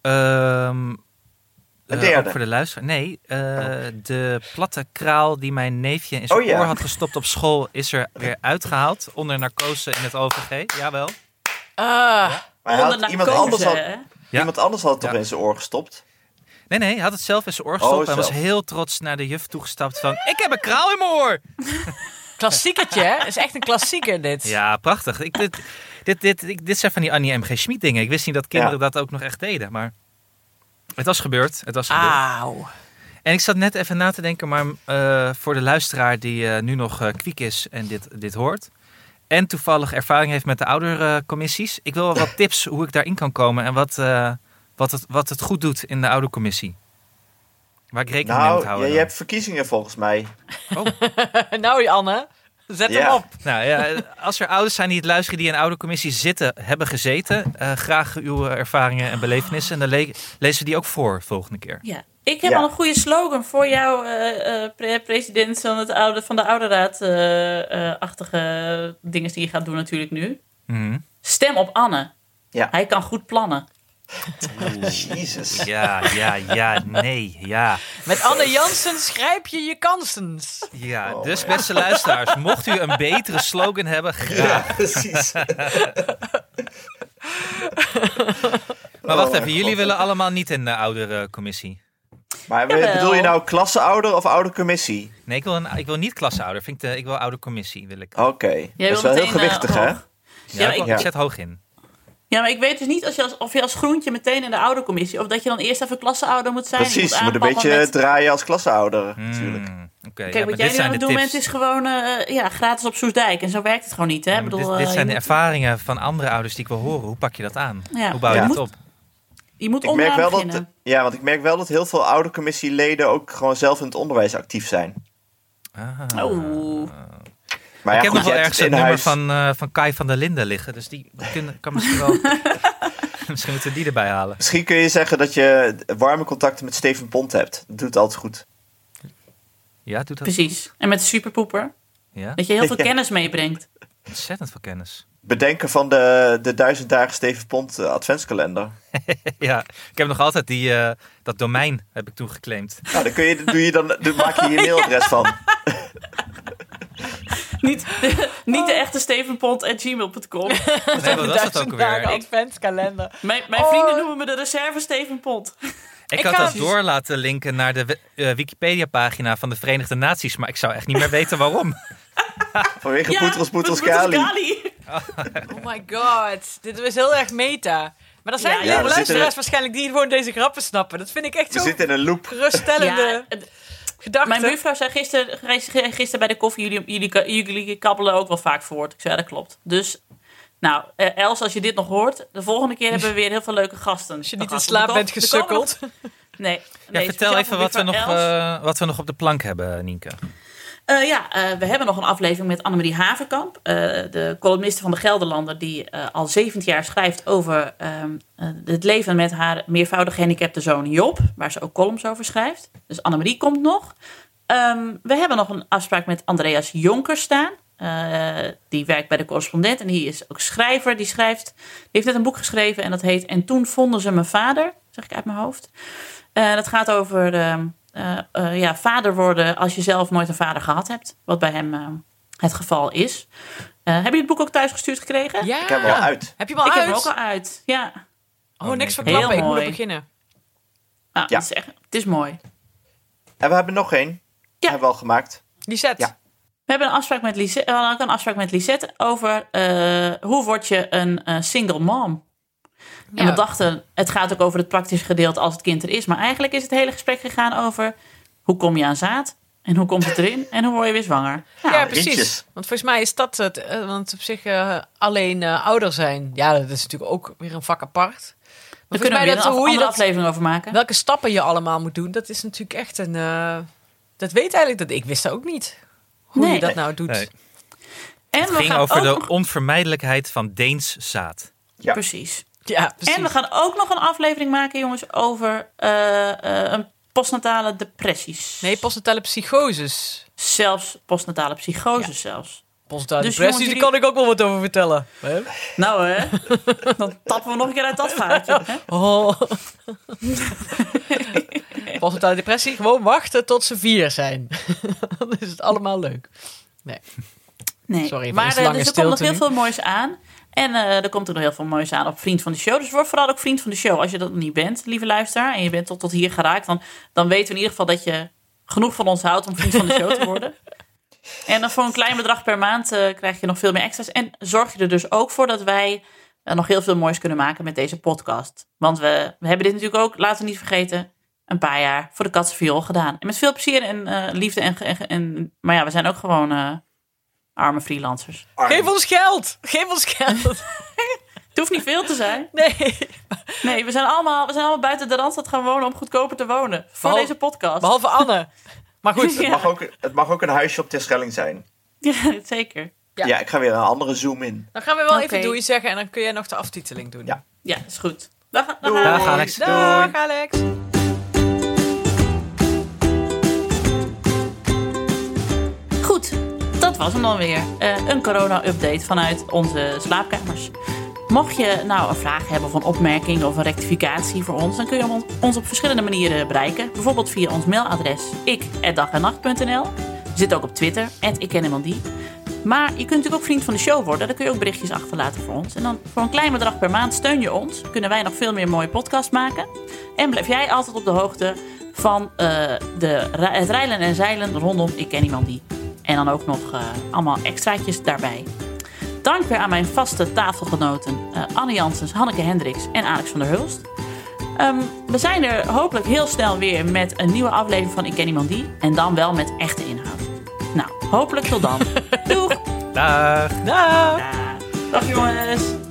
S3: Ehm, eh,
S4: derde.
S3: ook voor de luisteraar. Nee, eh, de platte kraal die mijn neefje in zijn
S4: Oh ja.
S3: oor had gestopt op school... is er weer uitgehaald onder narcose in het OVG. Jawel.
S5: Ah,
S4: maar hij had-
S2: Onder
S4: iemand,
S2: narcose,
S4: anders had,
S2: hè?
S3: Ja.
S4: iemand anders had het toch
S3: Ja.
S4: in zijn oor gestopt?
S3: Nee, nee, hij had het zelf in zijn oor
S4: Oh,
S3: gestopt... en was
S4: zelf.
S3: heel trots naar de juf toegestapt van... Ik heb een kraal in mijn oor!
S5: klassiekertje, hè? Is echt een klassieker, dit.
S3: Ja, prachtig. Ik, dit, dit, dit, ik- dit zijn van die Annie M.G. Schmid dingen. Ik wist niet dat kinderen dat ook nog echt deden, maar... Het was gebeurd. Het was gebeurd.
S5: Auw.
S3: En ik zat net even na te denken, maar eh, voor de luisteraar die eh, nu nog eh kwiek is en dit, dit hoort. En toevallig ervaring heeft met de oudercommissies. Ik wil wel wat tips hoe ik daarin kan komen en wat, eh, wat, het, wat het goed doet in de oudercommissie. Waar ik rekening mee moet
S4: nou,
S3: houden.
S4: ja, je
S3: dan.
S4: hebt verkiezingen volgens mij.
S5: nou, Anne, zet
S4: Ja.
S5: hem op.
S3: Nou ja, als er ouders zijn die het luisteren die in een oudercommissie zitten, hebben gezeten. eh, graag uw eh, ervaringen en belevenissen. En dan le- lezen we die ook voor volgende keer.
S2: Ja, ik heb
S4: Ja.
S2: al een goede slogan voor jou, eh, eh, pre- president van, het oude, van de oude raad eh, eh, achtige dingen die je gaat doen natuurlijk nu.
S3: Mhm.
S2: Stem op Anne.
S4: Ja.
S2: Hij kan goed plannen.
S4: Jezus.
S3: Ja, ja, ja, nee, ja.
S5: Met Anne Jansen schrijf je je kansen.
S3: Ja,
S4: Oh,
S3: dus
S4: ja.
S3: beste luisteraars, mocht u een betere slogan hebben, graag.
S4: Ja, precies.
S3: Maar wacht
S4: Oh,
S3: even,
S4: mijn
S3: jullie
S4: God.
S3: willen allemaal niet in de oudere commissie.
S4: Maar
S2: Jawel.
S4: bedoel je nou klasseouder of oudercommissie?
S3: Nee, ik wil, een, ik wil niet klasouder. Vind ik, de, ik wil oude commissie, wil ik.
S4: Oké.
S2: Jij
S4: Dat is
S2: wil
S4: wel heel
S2: meteen, eh,
S4: gewichtig, hè?
S2: hoog.
S3: Ja,
S2: Oh, Ja, ik-
S3: ik, ik zet hoog in.
S2: Ja, maar ik weet dus niet als je als, of je als groentje meteen in de oude commissie... of dat je dan eerst even klasseouder moet zijn.
S4: Precies,
S2: je
S4: je moet een
S2: aanpakken
S4: beetje
S2: met-
S4: draaien als klasseouder, natuurlijk.
S3: Hmm, Oké, ja,
S2: Kijk,
S3: maar
S2: wat jij
S3: dit
S2: nu aan
S3: zijn de
S2: het doen bent
S3: tips.
S2: is gewoon eh, ja, gratis op Soesdijk. En zo werkt het gewoon niet, hè?
S3: Ja,
S2: Ik
S3: maar
S2: bedoel,
S3: Mm, dit, dit
S2: eh,
S3: zijn
S2: je,
S3: de
S2: moet,
S3: ervaringen van andere ouders die ik wil horen. Hoe pak je dat aan?
S2: Ja.
S3: Hoe bouw je
S4: Ja.
S3: dat
S2: Moet-
S3: op?
S2: je moet
S4: Ik merk
S2: onderaan
S4: wel dat,
S2: beginnen.
S4: ja, want ik merk wel dat heel veel oudercommissieleden ook gewoon zelf in het onderwijs actief zijn.
S3: Ah.
S2: Oeh.
S4: Maar
S3: ik
S4: ja,
S3: heb
S4: goed,
S3: nog
S4: je
S3: wel ergens
S4: hebt
S3: het
S4: het in
S3: nummer
S4: huis.
S3: van, eh, van Kai van der Linden liggen. Dus die kunnen, kan misschien wel... misschien moeten we die erbij halen.
S4: Misschien kun je zeggen dat je warme contacten met Steven Pont hebt. Dat doet altijd goed.
S3: Ja, doet dat?
S2: Precies. En met de superpoeper.
S3: Ja,
S2: Dat je heel veel
S4: Ja.
S2: kennis meebrengt.
S3: ontzettend veel kennis.
S4: Bedenken van de, de duizend dagen Steven Pont eh, adventskalender.
S3: Ja, ik heb nog altijd die, eh, dat domein heb ik toen geclaimd.
S4: Nou, dan, kun je, doe je dan, dan maak je je mailadres van.
S2: Niet, niet de
S5: Oh.
S2: echte stevenpont.gmail.com.
S3: Nee, wat was dat ook
S5: Duizend dagen
S3: alweer? Ik,
S5: adventskalender.
S2: Mijn, mijn
S5: Oh.
S2: vrienden noemen me de reserve Steven Pont.
S3: ik
S5: Ik
S3: had
S5: ga-
S3: dat door laten linken naar de we- eh, Wikipedia-pagina van de Verenigde Naties, maar ik zou echt niet meer weten waarom.
S4: Vanwege
S2: Ja,
S4: Poetros Poetros
S2: Poetros
S4: Kali.
S2: Kali.
S5: Oh my god, dit was heel erg meta. Maar er zijn
S2: Ja,
S5: ook
S2: ja, we
S5: luisteraars
S4: zitten-
S5: waarschijnlijk die gewoon deze grappen snappen. Dat vind ik echt
S4: We
S5: zo
S4: zitten in een loop.
S5: geruststellende
S2: Ja, het-
S5: gedachte.
S2: Mijn buurvrouw zei gisteren, gisteren bij de koffie, jullie, jullie, ka- jullie kabbelen ook wel vaak voort. Ik zei, ja, dat klopt. Dus, nou, eh, Els, als je dit nog hoort, de volgende keer hebben we weer heel veel leuke gasten.
S5: Als je niet in slaap bent gesukkeld.
S2: Nee.
S3: Ja,
S2: nee,
S3: vertel
S2: speciaal
S3: even
S2: voor
S3: wat we, nog,
S2: buurvrouw Els.
S3: eh, wat we nog op de plank hebben, Nienke.
S2: Eh, ja, eh, we hebben nog een aflevering met Annemarie Haverkamp, eh, de columniste van de Gelderlander, die eh, al 17 jaar schrijft over ehm, eh, het leven met haar meervoudig gehandicapte zoon Job, waar ze ook columns over schrijft. Dus Annemarie komt nog. Ehm, we hebben nog een afspraak met Andreas Jonker staan. Eh, die werkt bij de correspondent en die is ook schrijver. Die schrijft, die heeft net een boek geschreven en dat heet En toen vonden ze mijn vader, zeg ik uit mijn hoofd. En het Eh, gaat over ehm, eh, eh, ja, vader worden als je zelf nooit een vader gehad hebt. Wat bij hem ehm, het geval is. Eh, heb je het boek ook thuis gestuurd gekregen?
S5: Ja.
S4: Ik heb hem al uit.
S5: Heb je hem al
S2: Ik heb
S5: uit?
S2: hem ook al uit. Ja,
S5: Oh, niks
S3: Heel
S5: verklappen. Ik moet
S2: mooi.
S5: er beginnen.
S2: Nou,
S4: Ja.
S2: Het, is echt, het is mooi.
S4: En we hebben nog één.
S2: Ja.
S4: Hebben we al gemaakt.
S5: Lisette.
S4: Ja.
S2: We hebben een afspraak met Lisette, we hadden ook een afspraak met Lisette over eh, hoe word je een eh, single mom. En
S5: Ja.
S2: we dachten, het gaat ook over het praktische gedeelte als het kind er is. Maar eigenlijk is het hele gesprek gegaan over hoe kom je aan zaad? En hoe komt het erin? En hoe word je weer zwanger? Nou,
S5: Ja, precies.
S4: Rietjes.
S5: Want volgens mij is dat het. eh, Want op zich eh, alleen eh, ouder zijn. Ja, dat is natuurlijk ook weer een vak apart.
S2: we
S5: Maar volgens
S2: kunnen er
S5: mij
S2: weer een
S5: dat,
S2: af,
S5: hoe je
S2: andere
S5: dat,
S2: aflevering over maken.
S5: welke stappen je allemaal moet doen, dat is natuurlijk echt een. eh, dat weet eigenlijk dat ik wist dat ook niet. Hoe
S2: Nee.
S5: je dat nou doet.
S3: Nee.
S2: en
S3: Het
S2: we
S3: ging
S2: gaan
S3: over
S2: ook
S3: de
S2: nog-
S3: onvermijdelijkheid van Deens zaad.
S4: Ja.
S2: Precies.
S5: Ja, precies.
S2: En we gaan ook nog een aflevering maken, jongens, over eh, eh, een postnatale depressies.
S5: Nee, postnatale psychoses.
S2: Zelfs postnatale psychose zelfs.
S5: Postnatale
S2: Dus
S5: depressies,
S2: jongens,
S5: daar kan ik ook wel wat over vertellen. Hè?
S2: Nou hè, dan tappen we nog een keer uit dat vaatje. Hè?
S5: Oh. Postnatale depressie, gewoon wachten tot ze vier zijn. Dan is het allemaal leuk.
S2: Nee,
S5: Sorry voor
S2: maar
S5: deze
S2: eh,
S5: lange
S2: dus er komt nog
S5: stilte
S2: heel
S5: nu.
S2: veel moois aan. En eh, er komt ook nog heel veel moois aan op Vriend van de Show. Dus word vooral ook Vriend van de Show. Als je dat nog niet bent, lieve luisteraar, en je bent tot, tot hier geraakt, dan, dan weten we in ieder geval dat je genoeg van ons houdt om Vriend van de Show te worden. En dan voor een klein bedrag per maand eh, krijg je nog veel meer extra's. En zorg je er dus ook voor dat wij eh, nog heel veel moois kunnen maken met deze podcast. Want we, we hebben dit natuurlijk ook, laten we niet vergeten, een paar jaar voor de katse viool gedaan. En met veel plezier en eh, liefde. En, ge- en, ge- en, maar ja, we zijn ook gewoon eh, arme freelancers.
S5: Geef ons geld! Geef ons geld!
S2: Het hoeft niet veel te zijn.
S5: Nee.
S2: Nee, we zijn allemaal, we zijn allemaal buiten de Randstad gaan wonen om goedkoper te wonen. Voor
S5: Behal-
S2: deze podcast.
S5: Behalve Anne. Maar goed.
S4: Het
S2: Ja.
S4: mag, ook, het mag ook een huisje op Terschelling zijn.
S2: Ja, zeker.
S5: Ja.
S4: Ja. ik ga weer een andere zoom in.
S5: Dan gaan we wel
S2: Oké.
S5: even doei zeggen en dan kun jij nog de aftiteling doen.
S4: Ja.
S2: Ja, is goed. Dan, ga- dan
S4: Doei.
S2: gaan
S3: Dag
S2: we.
S3: Alex.
S5: Dag Alex.
S2: Goed, dat was hem dan weer. Eh, een corona-update vanuit onze slaapkamers. Mocht je nou een vraag hebben of een opmerking of een rectificatie voor ons, dan kun je ons- ons op verschillende manieren bereiken. Bijvoorbeeld via ons mailadres ik@dagennacht.nl. We zitten ook op Twitter, ikkennemandie. Maar je kunt natuurlijk ook vriend van de show worden. Daar kun je ook berichtjes achterlaten voor ons. En dan voor een klein bedrag per maand steun je ons. Kunnen wij nog veel meer mooie podcasts maken. En blijf jij altijd op de hoogte van eh, de, ra- het rijlen en zeilen rondom Ik Ken Iemand Die. En dan ook nog eh, allemaal extraatjes daarbij. Dank weer aan mijn vaste tafelgenoten eh Anne Janssens, Hanneke Hendricks en Alex van der Hulst. Ehm, we zijn er hopelijk heel snel weer met een nieuwe aflevering van Ik Ken Iemand Die. En dan wel met echte inhoud. Nou, hopelijk tot dan. Doeg!
S3: Dag!
S5: Dag.
S2: Dag jongens!